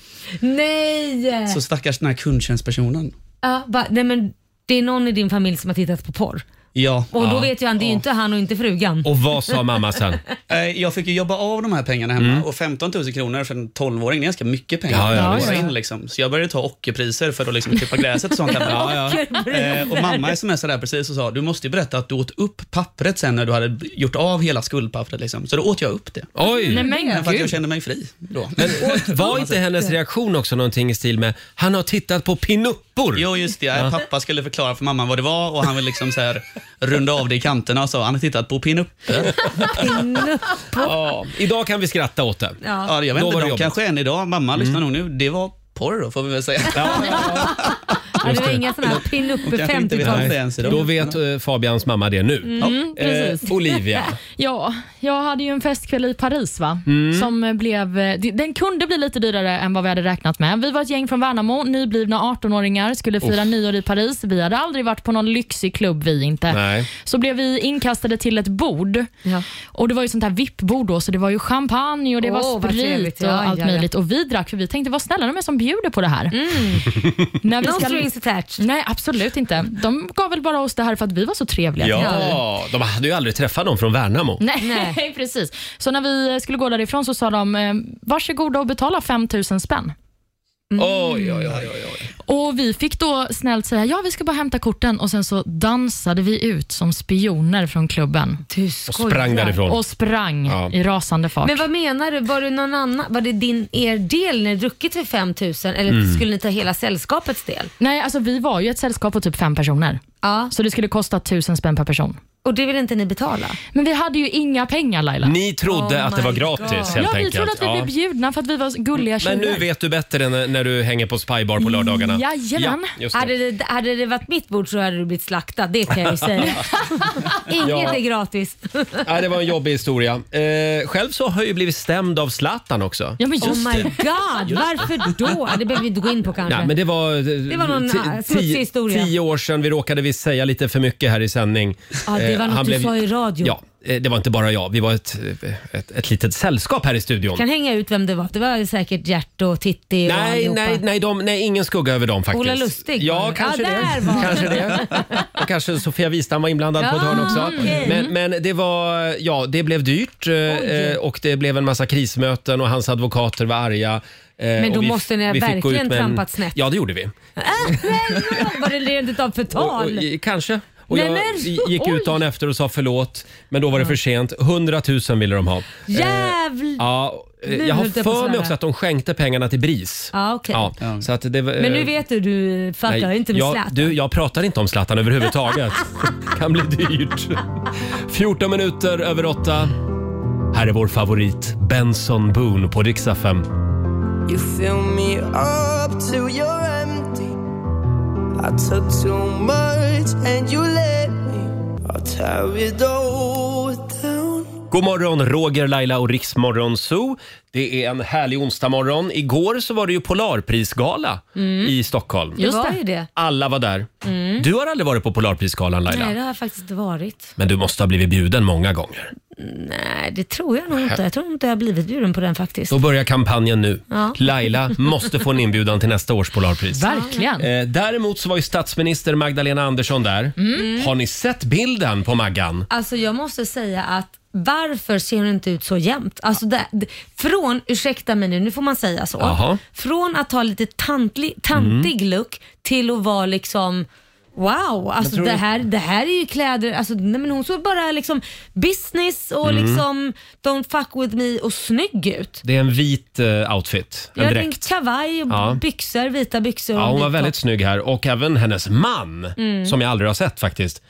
Nej! Så stackars den här kundtjänstpersonen. Ja, bara, nej men det är någon i din familj som har tittat på porr. Ja. Och då Ja. vet ju han, det är ju inte han och inte frugan. Och vad sa mamma sen? [LAUGHS] Mm. Eh, Jag fick ju jobba av de här pengarna hemma och 15 000 kronor för en 12-åring, det är ganska mycket pengar Ja, ja, att visst. vara in liksom. Så jag började ta ockerpriser för att liksom klippa gräset och sånt [LAUGHS] hemma. Ja, ja. Eh, Och mamma smsade där precis och sa, du måste ju berätta att du åt upp pappret sen när du hade gjort av hela skuldpappret liksom. Så då åt jag upp det. Oj! Nej, men för att jag gud. kände mig fri då. [LAUGHS] Men var inte hennes reaktion också någonting i stil med “Han har tittat på pinuppor”? Jo, just det. Ja. Pappa skulle förklara för mamma vad det var och han ville liksom så här runda av det i kanterna och sa, han har tittat på pinupper. Ja, idag kan vi skratta åt det. Ja. jag vet Då inte, de var det jobbigt. Mm. kanske än idag, mamma lyssnar nog nu, det var porr då, får vi väl säga. [LAUGHS] Ja, det var inga sådana här Och pinuppe kanske inte vet 50 om det ens idag. Då vet eh, Fabians mamma det nu. Mm, precis. Eh, Olivia. Ja, jag hade ju en festkväll i Paris va? Mm. Som eh, blev, eh, d- den kunde bli lite dyrare än vad vi hade räknat med. Vi var ett gäng från Värnamo, nyblivna 18-åringar, skulle fira Uff. nyår i Paris. Vi hade aldrig varit på någon lyxig klubb vi inte. Nej. Så blev vi inkastade till ett bord. Och Det var ju sånt här VIP-bord då, så det var ju champagne och det Åh, var vad trevligt. sprit och Ja, allt ja, ja. möjligt. Och Vi drack för vi tänkte, vad snälla de är som bjuder på det här. [LAUGHS] När vi No strings attached. Nej, absolut inte. De gav väl bara oss det här för att vi var så trevliga. Ja, de hade ju aldrig träffat någon från Värnamo. Nej, [LAUGHS] precis. Så när vi skulle gå därifrån så sa de, eh, varsågoda och betala 5 000 spänn. Oj, oj, oj, oj, oj. Och Vi fick då snällt säga, ja vi ska bara hämta korten och sen så dansade vi ut som spioner från klubben. Och sprang därifrån. Och sprang Ja. i rasande fart. Men vad menar du? Var det någon annan, var det din, er del när ni druckit för 5000 eller Mm. skulle ni ta hela sällskapets del? Nej, alltså vi var ju ett sällskap på typ fem personer. Så det skulle kosta 1000 spänn per person. Och det vill inte ni betala? Men vi hade ju inga pengar Laila. Ni trodde att det var gratis helt Oh ja, vi enkelt. trodde att vi Ja. blev bjudna för att vi var gulliga tjejer. Men nu vet du bättre när, när du hänger på spybar på lördagarna. Mm, Jajamän. Ja, just det. Hade det, hade det varit mitt bord så hade du blivit slaktad, det kan jag ju [LAUGHS] säga. Inget Ja. är gratis. Nej, det var en jobbig historia. Eh, själv så har jag ju blivit stämd av Zlatan också. Ja, men oh my god, varför då? Det behöver vi inte gå in på kanske. Nej, men det var, eh, Det var någon, ti- eh, smutsig ti- historia. Tio år sedan vi råkade vi säga lite för mycket här i sändning. Ja, det Eh, var något du sa i radio. Ja, eh, det var inte bara jag. Vi var ett, eh, ett, ett litet sällskap här i studion. Kan hänga ut vem det var. Det var säkert Gert och Titti och Nej, allihopa. nej, nej, de, nej, ingen skugga över dem faktiskt. Ola Lustig var Ja, det. kanske Ja, där det. var det. Kanske det. Och kanske Sofia Wistam var inblandad på ett hörn också. Ja, Ah, okej. Mm-hmm. Men, men det var, ja, det blev dyrt eh, eh, och det blev en massa krismöten och hans advokater var arga. eh, Men då och vi- måste ni vi fick gå ut verkligen med en- trampat snett. Ja, det gjorde vi. [LAUGHS] Var det rent utav Och, och, förtal? i- kanske. Och Nej, jag men- gick oj. ut dagen efter och sa förlåt, men då var det för sent. 100 000 ville de ha. Eh, Jävl- Ja, eh, Nu jag har höll jag på att för mig svära. också att de skänkte pengarna till BRIS. Ja, okej. Ja, så att det, var- Men nu eh, vet du, du fattar Nej, inte med jag, Zlatan. Du, jag pratar inte om [LAUGHS] Zlatan överhuvudtaget. kan bli dyrt. 14 minuter över 8. Här är vår favorit Benson Boone på riksdag 5. You fill me up till you're empty. I took too much and you let me. I'll tear it all down. God morgon, Roger, Laila och Riksmorgon Zoo. Det är en härlig onsdagmorgon. Igår så var det ju Polarprisgala Mm. i Stockholm. det var ju det. Alla var där. Mm. Du har aldrig varit på Polarprisgalan Laila, Nej, det har jag faktiskt inte varit. men du måste ha blivit bjuden många gånger. Nej, det tror jag nog inte. Jag tror inte jag har blivit bjuden på den faktiskt. Då börjar kampanjen nu. Ja. Laila måste få en inbjudan till nästa års Polarpris. Verkligen. Eh, däremot så var ju statsminister Magdalena Andersson där. Mm. Har ni sett bilden på Maggan? Alltså jag måste säga att varför ser hon inte ut så jämt? Alltså det, det, från, ursäkta mig nu, nu får man säga så. Jaha. Mm. Från att ha lite tantlig, tantig look till att vara liksom Wow, alltså tror det det. här, det här är ju kläder, alltså, nej, men hon såg bara liksom business och Mm. liksom don't fuck with me och snygg ut. Det är en vit eh, outfit. Jag En hade en dräkt. kavaj och Ja. byxor, vita byxor. och Ja, hon var vit väldigt topp. snygg här och även hennes man Mm. som jag aldrig har sett faktiskt.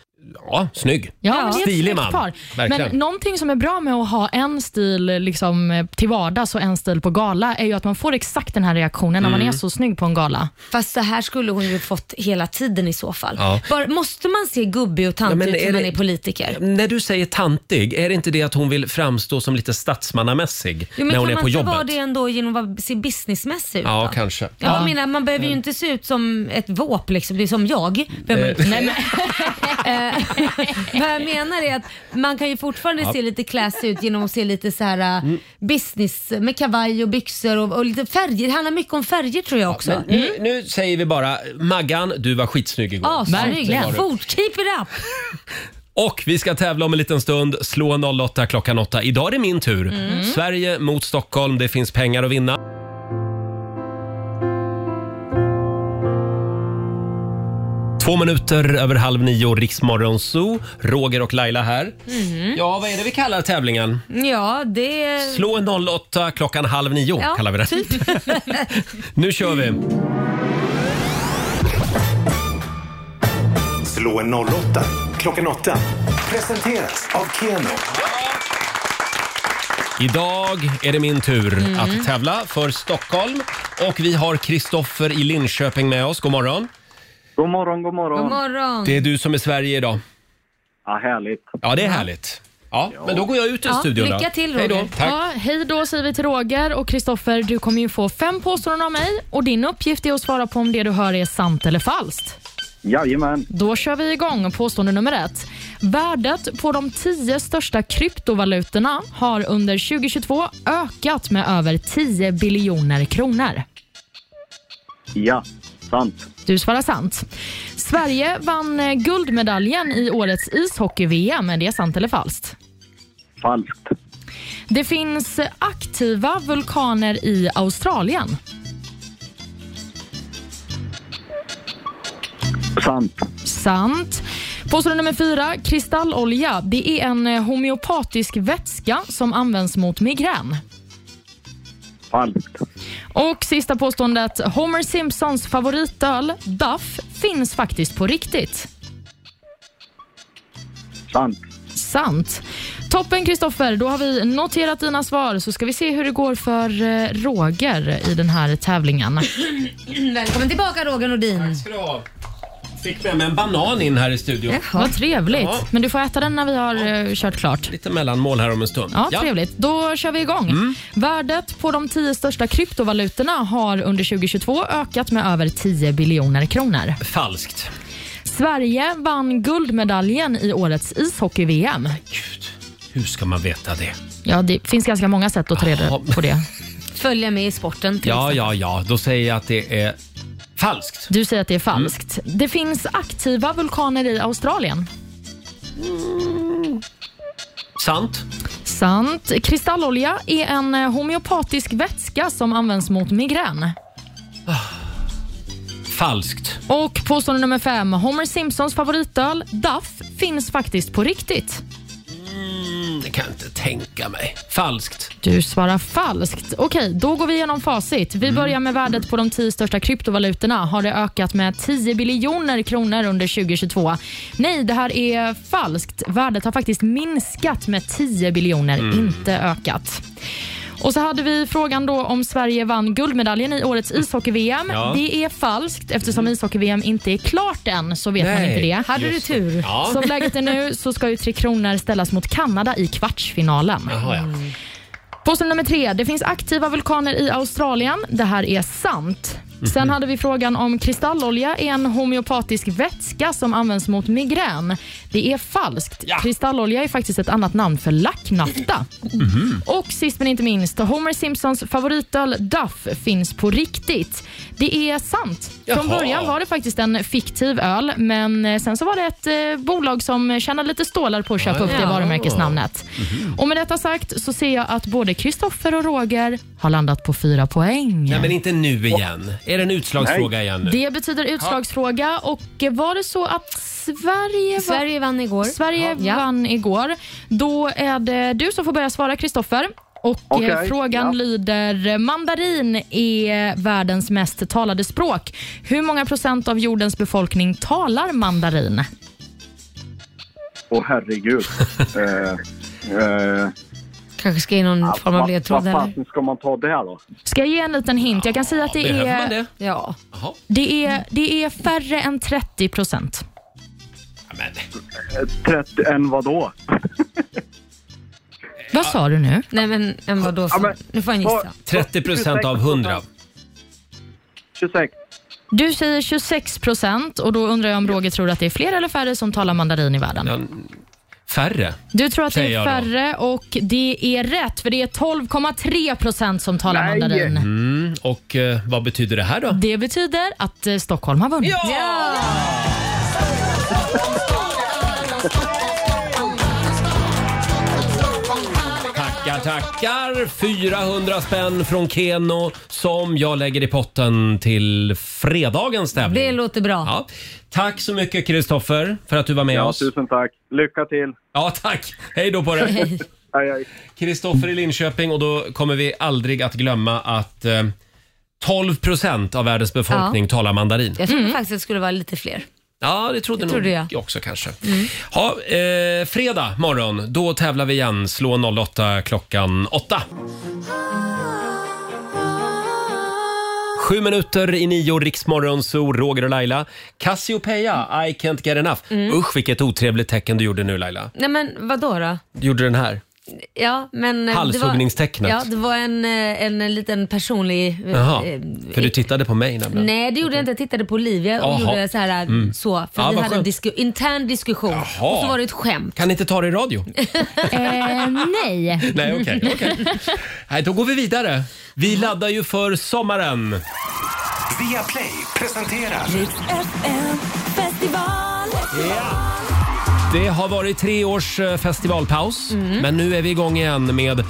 Ja, snygg. Ja, men det är ett Stilig snyggt man. Par. Verkligen. Men någonting som är bra med att ha en stil liksom, eh, till vardags och en stil på gala är ju att man får exakt den här reaktionen när man Mm. är så snygg på en gala. Fast det här skulle hon ju fått hela tiden i så fall. Ja. Bara, måste man se gubbig och tantig Ja, men ut när är man det- Mm. är politiker? När du säger tantig, är det inte det att hon vill framstå som lite statsmannamässig Jo, men när hon kan är man på inte jobbet? vara det ändå genom att vara- se businessmässig ut? Ja, då? kanske. Ja, Jag menar, man behöver ju inte se ut som ett våp liksom. Det är som jag. Behöver man Eh. inte. Nej, men, Eh, [LAUGHS] vad jag menar är att man kan ju fortfarande Ja. se lite classy ut genom att se lite så här eh, Mm. business med kavaj och byxor och, och lite färger. Det handlar mycket om färger tror jag också. Mm. Men nu, nu säger vi bara, Maggan, du var skitsnygg igår. Ja, Det var snygg. du. Fort, keep it up! Och vi ska tävla om en liten stund. Slå 08 klockan 8. Idag är det min tur. Mm. Sverige mot Stockholm. Det finns pengar att vinna. Två minuter över halv nio, Riksmorgon Zoo. Roger och Laila här. Mhm. Ja, vad är det vi kallar tävlingen? Ja, det... Slå 08 klockan halv nio Ja, kallar vi det. Typ. [LAUGHS] Nu kör vi. Slå en 08 klockan 8. Presenteras av Keno. Idag är det min tur Mm. att tävla för Stockholm. Och vi har Kristoffer i Linköping med oss. God morgon. God morgon, god morgon. God morgon. Det är du som är Sverige idag. Ja, härligt. Ja, det är härligt. Ja, men då går jag ut ur studion. då. lycka till Hej Roger. då. Tack. Ja, hej då säger vi till Roger och Kristoffer. Du kommer ju få fem påståenden av mig och din uppgift är att svara på om det du hör är sant eller falskt. Jajamän. Då kör vi igång påstående nummer ett. Värdet på de tio största kryptovalutorna har under 2022 ökat med över 10 biljoner kronor. Ja, sant. Du svarar sant. Sverige vann eh, guldmedaljen i årets ishockey-VM. Är det sant eller falskt? Falskt. Det finns eh, aktiva vulkaner i Australien. Sant. Sant. Påstående nummer fyra. Kristallolja det är en eh, homeopatisk vätska som används mot migrän. Falskt. Och sista påståendet. Homer Simpsons favoritöl, Duff, finns faktiskt på riktigt. Sant. Sant. Toppen Kristoffer, då har vi noterat dina svar så ska vi se hur det går för eh, Roger i den här tävlingen. Välkommen tillbaka Roger Nordin. Tack ska du ha. Fick med mig en banan in här i studion. Vad trevligt. Ja. Men du får äta den när vi har eh, kört klart. Lite mellanmål här om en stund. Ja, trevligt. Då kör vi igång. Mm. Värdet på de tio största kryptovalutorna har under 2022 ökat med över 10 biljoner kronor. Falskt. Sverige vann guldmedaljen i årets ishockey-VM. Hur ska man veta det? Ja, det finns ganska många sätt att ta reda på det. Följa med i sporten till Ja, exempel. ja, ja. Då säger jag att det är falskt. Mm. Du säger att det är falskt. Det finns aktiva vulkaner i Australien. Mm. Sant. Sant. Kristallolja är en eh, homeopatisk vätska som används mot migrän. Falskt. Och påstående nummer fem. Homer Simpsons favoritöl, Duff, finns faktiskt på riktigt. Mm, det kan jag inte tänka mig. Falskt. Du svarar falskt. Okej, då går vi igenom facit. Mm. Vi börjar med värdet på de tio största kryptovalutorna. Har det ökat med 10 biljoner kronor under 2022? Nej, det här är falskt. Värdet har faktiskt minskat med 10 biljoner, Mm. inte ökat. Och så hade vi frågan då om Sverige vann guldmedaljen i årets ishockey-VM. Ja. Mm. Det är falskt eftersom ishockey-VM inte är klart än, så vet man Nej, inte det. Hade du just det. tur. Ja. Som läget [LAUGHS] är nu så ska ju Tre Kronor ställas mot Kanada i kvartsfinalen. Jaha, ja. Påstående nummer tre. Det finns aktiva vulkaner i Australien. Det här är sant. Mhm. Sen hade vi frågan om kristallolja är en homeopatisk vätska som används mot migrän. Det är falskt. Kristallolja är faktiskt ett annat namn för lacknafta. Och sist men inte minst, Homer Simpsons favoritöl Duff finns på riktigt. Det är sant. Från Jaha. början var det faktiskt en fiktiv öl, men eh, sen så var det ett eh, bolag som tjänade lite stålar på att köpa upp det Ja. Mhm. varumärkesnamnet. Och med detta sagt så ser jag att både Kristoffer och Roger har landat på fyra poäng. Nej, men inte nu igen. Är det en utslagsfråga igen nu? Det betyder utslagsfråga. Och eh, var det så att Sverige, Sverige vann igår? Sverige Ja. vann igår. Då är det du som får börja svara, Kristoffer. Och eh, Okej, Frågan ja. lyder, mandarin är världens mest talade språk. Hur många procent av jordens befolkning talar mandarin? Åh [LAUGHS] herregud. eh, eh, Kanske ska in någon form av vad- ledtråd Vad eller? fasen ska man ta där då? Ska jag ge en liten hint? Jag kan säga att det behöver är, man det? Ja. Det, är, det är färre än 30 procent. Eh, 30, en vadå? Vad sa du nu? Nej men, men vadå? Ja, Ja, men- nu får jag gissa. 30 procent av 100. 26. Du säger 26 procent och då undrar jag om Roger tror att det är fler eller färre som talar mandarin i världen? Färre. Du tror att det säger är jag då. färre och det är rätt för det är 12,3 procent som talar mandarin. Mm, och eh, vad betyder det här då? Det betyder att eh, Stockholm har vunnit. Tackar, tackar! 400 spänn från Keno som jag lägger i potten till fredagens tävling. Det låter bra. Ja. Tack så mycket Kristoffer för att du var med Ja, oss. tusen tack. Lycka till. Ja, tack. Hej då på dig. [LAUGHS] Hej. Kristoffer i Linköping och då kommer vi aldrig att glömma att eh, 12 procent av världens befolkning Ja. talar mandarin. Jag trodde faktiskt att det skulle vara lite fler. Mm. Ja, det trodde Det Mm. nog trodde jag. jag. också kanske. Ha, eh, fredag morgon, då tävlar vi igen. Slå 08 klockan 8. Sju minuter i nio, Riksmorgon, så Roger och Laila. Cassiopeia, I can't get enough. Mm. Usch, vilket otrevligt tecken du gjorde nu Laila. Nej men vadå då? Du gjorde den här. Ja, men, eh, Halshuggningstecknet. Det var, ja, det var en, eh, en, en liten personlig... eh, Jaha, eh, för du tittade på mig nämligen. Nej, det gjorde jag inte. Jag tittade på Olivia och Jaha. gjorde så här. eh, Mm. Så, för Ja, vi hade vad en skönt. disku- intern diskussion. Jaha. Och så var det ett [LAUGHS] skämt. Kan ni inte ta det [LAUGHS] i radio? Eh, nej. Nej, okej. okej. Nej, då går vi vidare. Vi laddar ju för sommaren. Via Play presenterar... Det har varit tre års eh, festivalpaus, Mm. men nu är vi igång igen med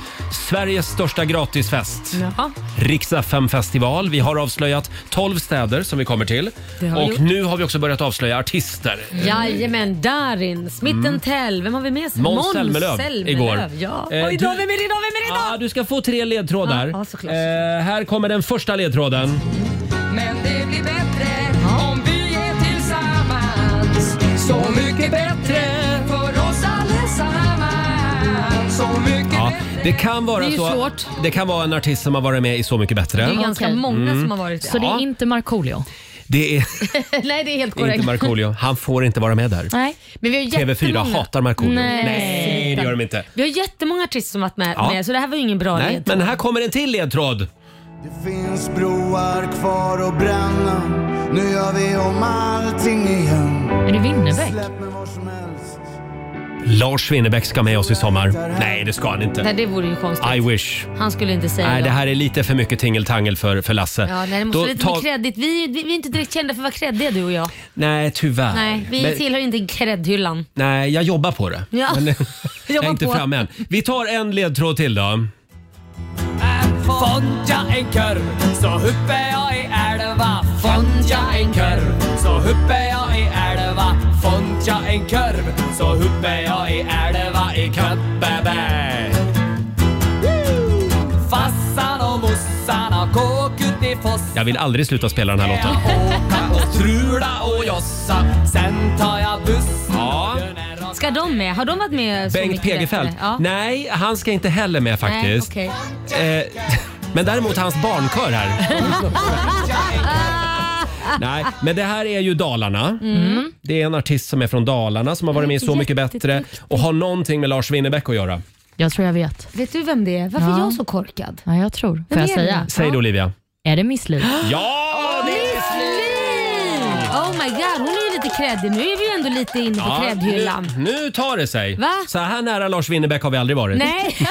Sveriges största gratisfest. Jaha. Rix FM festival. Vi har avslöjat 12 städer som vi kommer till. Det har vi Och gjort. nu har vi också börjat avslöja artister. Jajamän, Darin, Smitten Tell, vem har vi med oss? Mm. Måns Zelmerlöw Zelmerlöw, igår. Ja. Eh, Oj då, du- vem är det idag? Vem är det idag? Ja, du ska få tre ledtrådar. Ja, ja, såklart. eh, här kommer den första ledtråden. Men det blir bättre om vi är tillsammans Så mycket bättre för oss allesammans Så mycket Ja, det kan vara Det är ju så. svårt. Det kan vara en artist som har varit med i Så mycket bättre. Det är ganska Mm. många som har varit det. Så det är inte [LAUGHS] Markoolio? [LAUGHS] Det är Nej, det är helt det är inte Markoolio. Han får inte vara med där. Nej. Men vi har TV4 jättemånga- hatar Markoolio. Nej. Nej, det gör de inte. Vi har jättemånga artister som varit med, Ja. med så det här var ju ingen bra Nej, led. men här kommer en till ledtråd. Det finns broar kvar att bränna Nu gör vi om allting igen Är det Winnerbäck? Lars Winnerbäck ska med oss i sommar. Nej, det ska han Nej, inte. det vore ju konstigt. I wish. Han skulle inte säga Nej, ja. det här är lite för mycket tingeltangel för, för Lasse. Ja, nej, det måste Då vara lite ta- mer kreddigt. Vi, vi, vi är inte direkt kända för att vara kreddiga du och jag. Nej, tyvärr. Nej, vi Men- tillhör inte kreddhyllan. Nej, jag jobbar på det. Ja. Men, jag är [LAUGHS] Jobbar inte på. framme än. Vi tar en ledtråd till då. Fond jag en kurv så huppar jag i älva Fond jag en kurv så huppar jag i älva Fond jag en kurv så huppar jag i älva i Köppeberg Fassan och mossan har kåk ut i fossen Jag vill aldrig sluta spela den här låten. Åka och [LAUGHS] trula och jossa Sen tar jag bussen Ja. Ska de med? Har de varit med så Bengt mycket Pegerfeldt. bättre? Ja. Nej, han ska inte heller med faktiskt. Nej, okej. Eh, [LAUGHS] men däremot hans barnkör här. Nej, men det här är ju Dalarna. Mm. Det är en artist som är från Dalarna som har varit med i Så mycket bättre och har någonting med Lars Winnerbäck att göra. Jag tror jag vet. Vet du vem det är? Varför Ja. är jag så korkad? Ja, jag tror. Får Vem jag är det? säga? Säg det Olivia. Är det Miss Li? Ja! Oh my god, hon är ju lite kreddig. Nu är vi ju ändå lite inne på ja kreddhyllan. nu, nu tar det sig. Va? Så här nära Lars Winnerbäck har vi aldrig varit. Nej. [LAUGHS]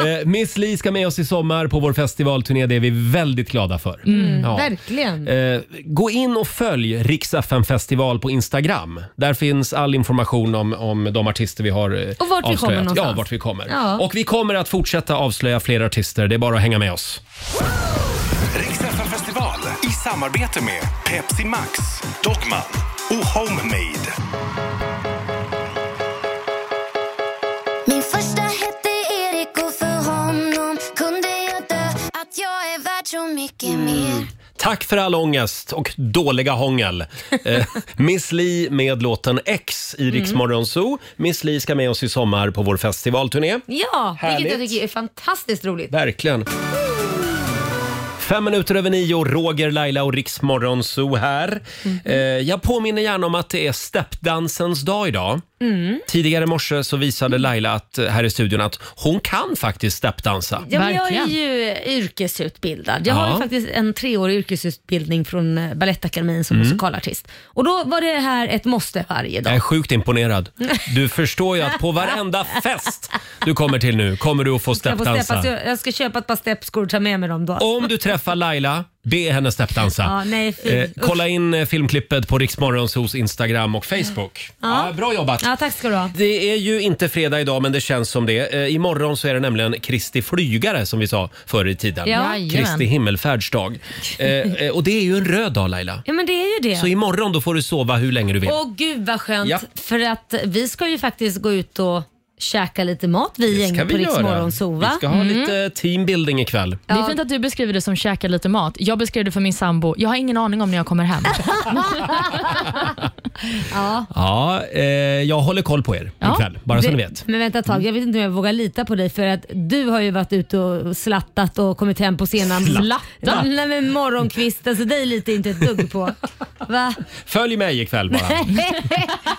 Eh, Miss Li ska med oss i sommar på vår festivalturné. Det är vi väldigt glada för. Mm, Ja. Verkligen. Eh, gå in och följ Rix FM festival på Instagram. Där finns all information om, om de artister vi har eh, Och vart vi avslöjat. kommer någonstans. Ja, vart vi kommer. Ja. Och vi kommer att fortsätta avslöja fler artister. Det är bara att hänga med oss. Rix FM festival i samarbete med Pepsi Max, Dogman och Homemade. Min första hette Erik och för honom kunde jag dö att jag är värd så mycket mer Mm. Tack för all ångest och [LAUGHS] dåliga hångel. Eh, Miss Li med låten X i Rix Mm. Morgon Zoo. Miss Li ska med oss i sommar på vår festivalturné. Ja, Härligt. vilket jag tycker är fantastiskt roligt. Verkligen. Fem minuter över nio, Roger, Laila och Rix Morgon Zoo här. Mhm. Eh, jag påminner gärna om att det är steppdansens dag idag. Mm. Tidigare i morse så visade Laila att, eh, här i studion att hon kan faktiskt steppdansa. Ja, men jag är ju yrkesutbildad. Jag har Ja. ju faktiskt en treårig yrkesutbildning från eh, Balettakademin som Mm. musikalartist. Och då var det här ett måste varje Jag dag. är [LAUGHS] sjukt imponerad. Du förstår ju att på varenda fest du kommer till nu kommer du att få Jag, får steppa, steppdansa. så jag jag ska köpa ett par steppskor och ta med mig dem då. Om du träffar Laila, be henne steppdansa. Ja, nej, fy. Eh, Usch. kolla in eh, filmklippet på Riksmorgonsos Instagram och Facebook. Ja, bra jobbat. Ja, tack ska du ha. Det är ju inte fredag idag, men det känns som det. Eh, imorgon så är det nämligen Kristi flygare, som vi sa förr i tiden. Ja. Jajamän. Kristi himmelfärdsdag. Eh, eh, och det är ju en röd dag, Laila. Ja, men det är ju det. Så imorgon då får du sova hur länge du vill. Åh gud vad skönt. Ja. För att vi ska ju faktiskt gå ut och käka lite mat vi ska gänget vi på göra. Riksmorgonzoo va? Mm. Vi ska ha lite teambuilding ikväll. Det är fint att du beskriver det som käka lite mat. Jag beskrev det för min sambo. Jag har ingen aning om när jag kommer hem. [LAUGHS] ja. Ja, eh, jag håller koll på er Ja. ikväll, bara så Det- ni vet. Men vänta ett tag, jag vet inte om jag vågar lita på dig för att du har ju varit ute och slattat och kommit hem på sena Slattat? Nej men morgonkvisten så dig litar jag inte ett dugg [LAUGHS] på. Va? Följ mig ikväll bara. [LAUGHS]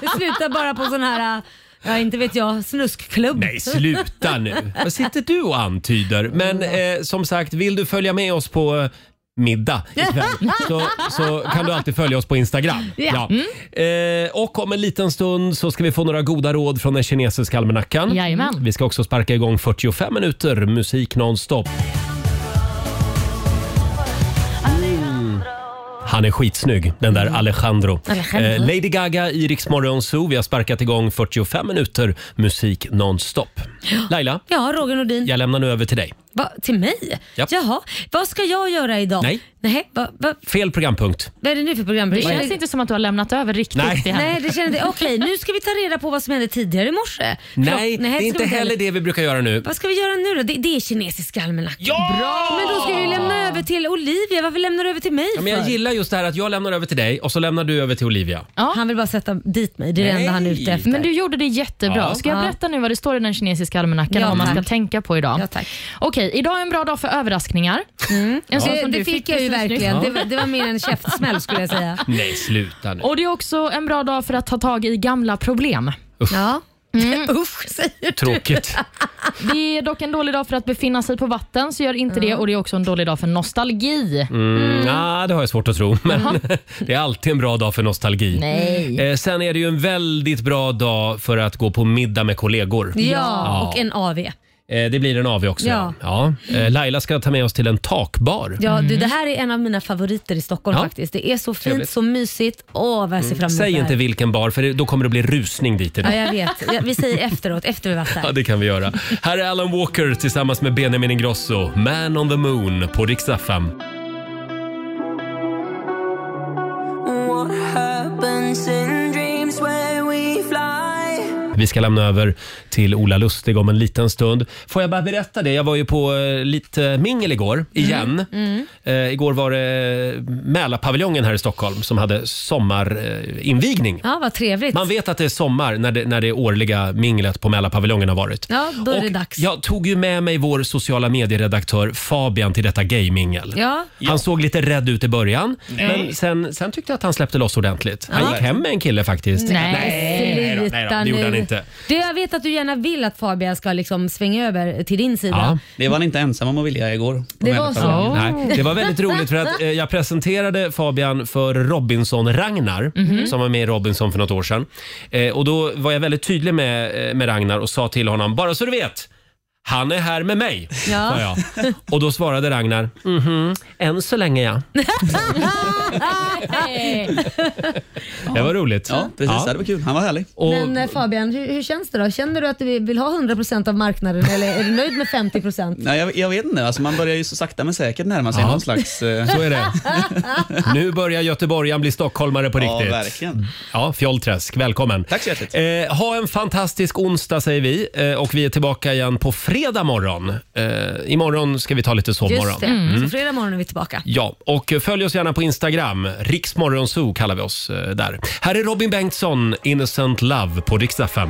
Du slutar bara på sån här, ja inte vet jag, snuskklubb. [LAUGHS] Nej, sluta nu. Vad sitter du och antyder? Men eh, som sagt, vill du följa med oss på eh, middag ikväll så, så kan du alltid följa oss på Instagram. Ja. Mm. Eh, och om en liten stund så ska vi få några goda råd från den kinesiska almanackan. Jajamän. Vi ska också sparka igång 45 minuter musik nonstop. Mm. Han är skitsnygg, den där Alejandro. Mm. Alejandro. Eh, Lady Gaga i Rix Morgon Zoo. Vi har sparkat igång 45 minuter musik nonstop. Laila, Ja, Roger Nordin. jag lämnar nu över till dig. Va, till mig? Japp. Jaha, vad ska jag göra idag? Nej. Nej va, va, Fel programpunkt. vad är det nu för program? Det känns inte som att du har lämnat över riktigt Nej. till henne. Nej, det känner jag Okej, nu ska vi ta reda på vad som hände tidigare i morse. Nej, Förlåt, det är ska inte vi heller det vi brukar göra nu. Vad ska vi göra nu då? Det, det är kinesiska almanackan. Ja! Bra! Men då ska vi lämna över till Olivia. Varför lämnar du över till mig Ja, men jag för? gillar just det här att jag lämnar över till dig och så lämnar du över till Olivia. Han vill bara sätta dit mig. Det är det enda han är ute efter. Men du gjorde det jättebra. Ja. Ska jag Ja. berätta nu vad det står i den kinesiska almanackan Ja, och vad man ska tack. tänka på idag? Ja, tack. Mm. Okej, idag är en bra dag för överraskningar. En sån Det, som det du fick jag ju precis nyss. verkligen. Det, var- det var mer en käftsmäll skulle jag säga. Nej, sluta nu. [LAUGHS] Och det är också en bra dag för att ta tag i gamla problem. Uff. Ja. [LAUGHS] Mm. Usch säger Tråkigt. Det är dock en dålig dag för att befinna sig på vatten, så gör inte Mm. det. Och det är också en dålig dag för nostalgi. Mm, nja, det har jag svårt att tro. [LAUGHS] Men det är alltid en bra dag för nostalgi. Nej. Eh, sen är det ju en väldigt bra dag för att gå på middag med kollegor. Ja, och en AV. Eh, det blir en AV också. Ja. Ja. Eh, Laila ska ta med oss till en takbar. Mm. Ja, du, det här är en av mina favoriter i Stockholm Ja. faktiskt. Det är så fint, Trevligt. så mysigt. Åh, vad jag ser fram emot Säg det här. inte vilken bar, för det- då kommer det bli rusning dit idag. Ja, jag vet. Ja, Vi säger efteråt, efter vi varit Ja, där. det kan vi göra. Här är Alan Walker tillsammans med Benjamin Ingrosso, Man on the Moon på Rix FM. What happens in dreams where we fly? Vi ska lämna över till Ola Lustig om en liten stund. Får jag bara berätta det? Jag var ju på eh, lite mingel Mm. igår, igen. Eh, igår var det Mälarpaviljongen här i Stockholm som hade sommarinvigning. Ja, vad trevligt. Man vet att det är sommar när det, när det årliga minglet på Mälarpaviljongen har varit. Ja, då är Och det dags. Jag tog ju med mig vår sociala medieredaktör Fabian till detta gaymingel. Ja. Han såg lite rädd ut i början, Mm. men sen, sen tyckte jag att han släppte loss ordentligt. Han Ja. gick hem med en kille faktiskt. Nej, nej, då, nej då, sluta det gjorde nu. han inte. Du, jag vet att du gärna vill att Fabian ska liksom svänga över till din sida. Det var han inte ensam om att vilja igår. på Det var så. Mälarpaviljongen. Nej, det var väldigt roligt för att eh, jag presenterade Fabian för Robinson-Ragnar Mhm. som var med i Robinson för något år sedan. Eh, och då var jag väldigt tydlig med, eh, med Ragnar och sa till honom, bara så du vet, han är här med mig, Ja. sa jag. Och då svarade Ragnar, mhm, än så länge ja. Det var roligt. Ja, precis. Ja, det var kul. Han var härlig. Men eh, Fabian, hur, hur känns det då? Känner du att du vill ha 100% av marknaden eller är du nöjd med 50%? Nej, jag, jag vet inte. Alltså, man börjar ju så sakta men säkert närma sig Ja. någon slags... eh, Så [LAUGHS] är det. Nu börjar göteborgaren bli stockholmare på Ja, riktigt. verkligen. Ja, Fjollträsk, välkommen. Tack så hjärtligt. Eh, ha en fantastisk onsdag säger vi eh, och vi är tillbaka igen på fredag morgon. Eh, imorgon ska vi ta lite sovmorgon. Mm. Just det, Mm. så fredag morgon är vi tillbaka. Ja, och följ oss gärna på Instagram. Riksmorgonzoo kallar vi oss eh, där. Här är Robin Bengtsson, Innocent Love på Rix FM.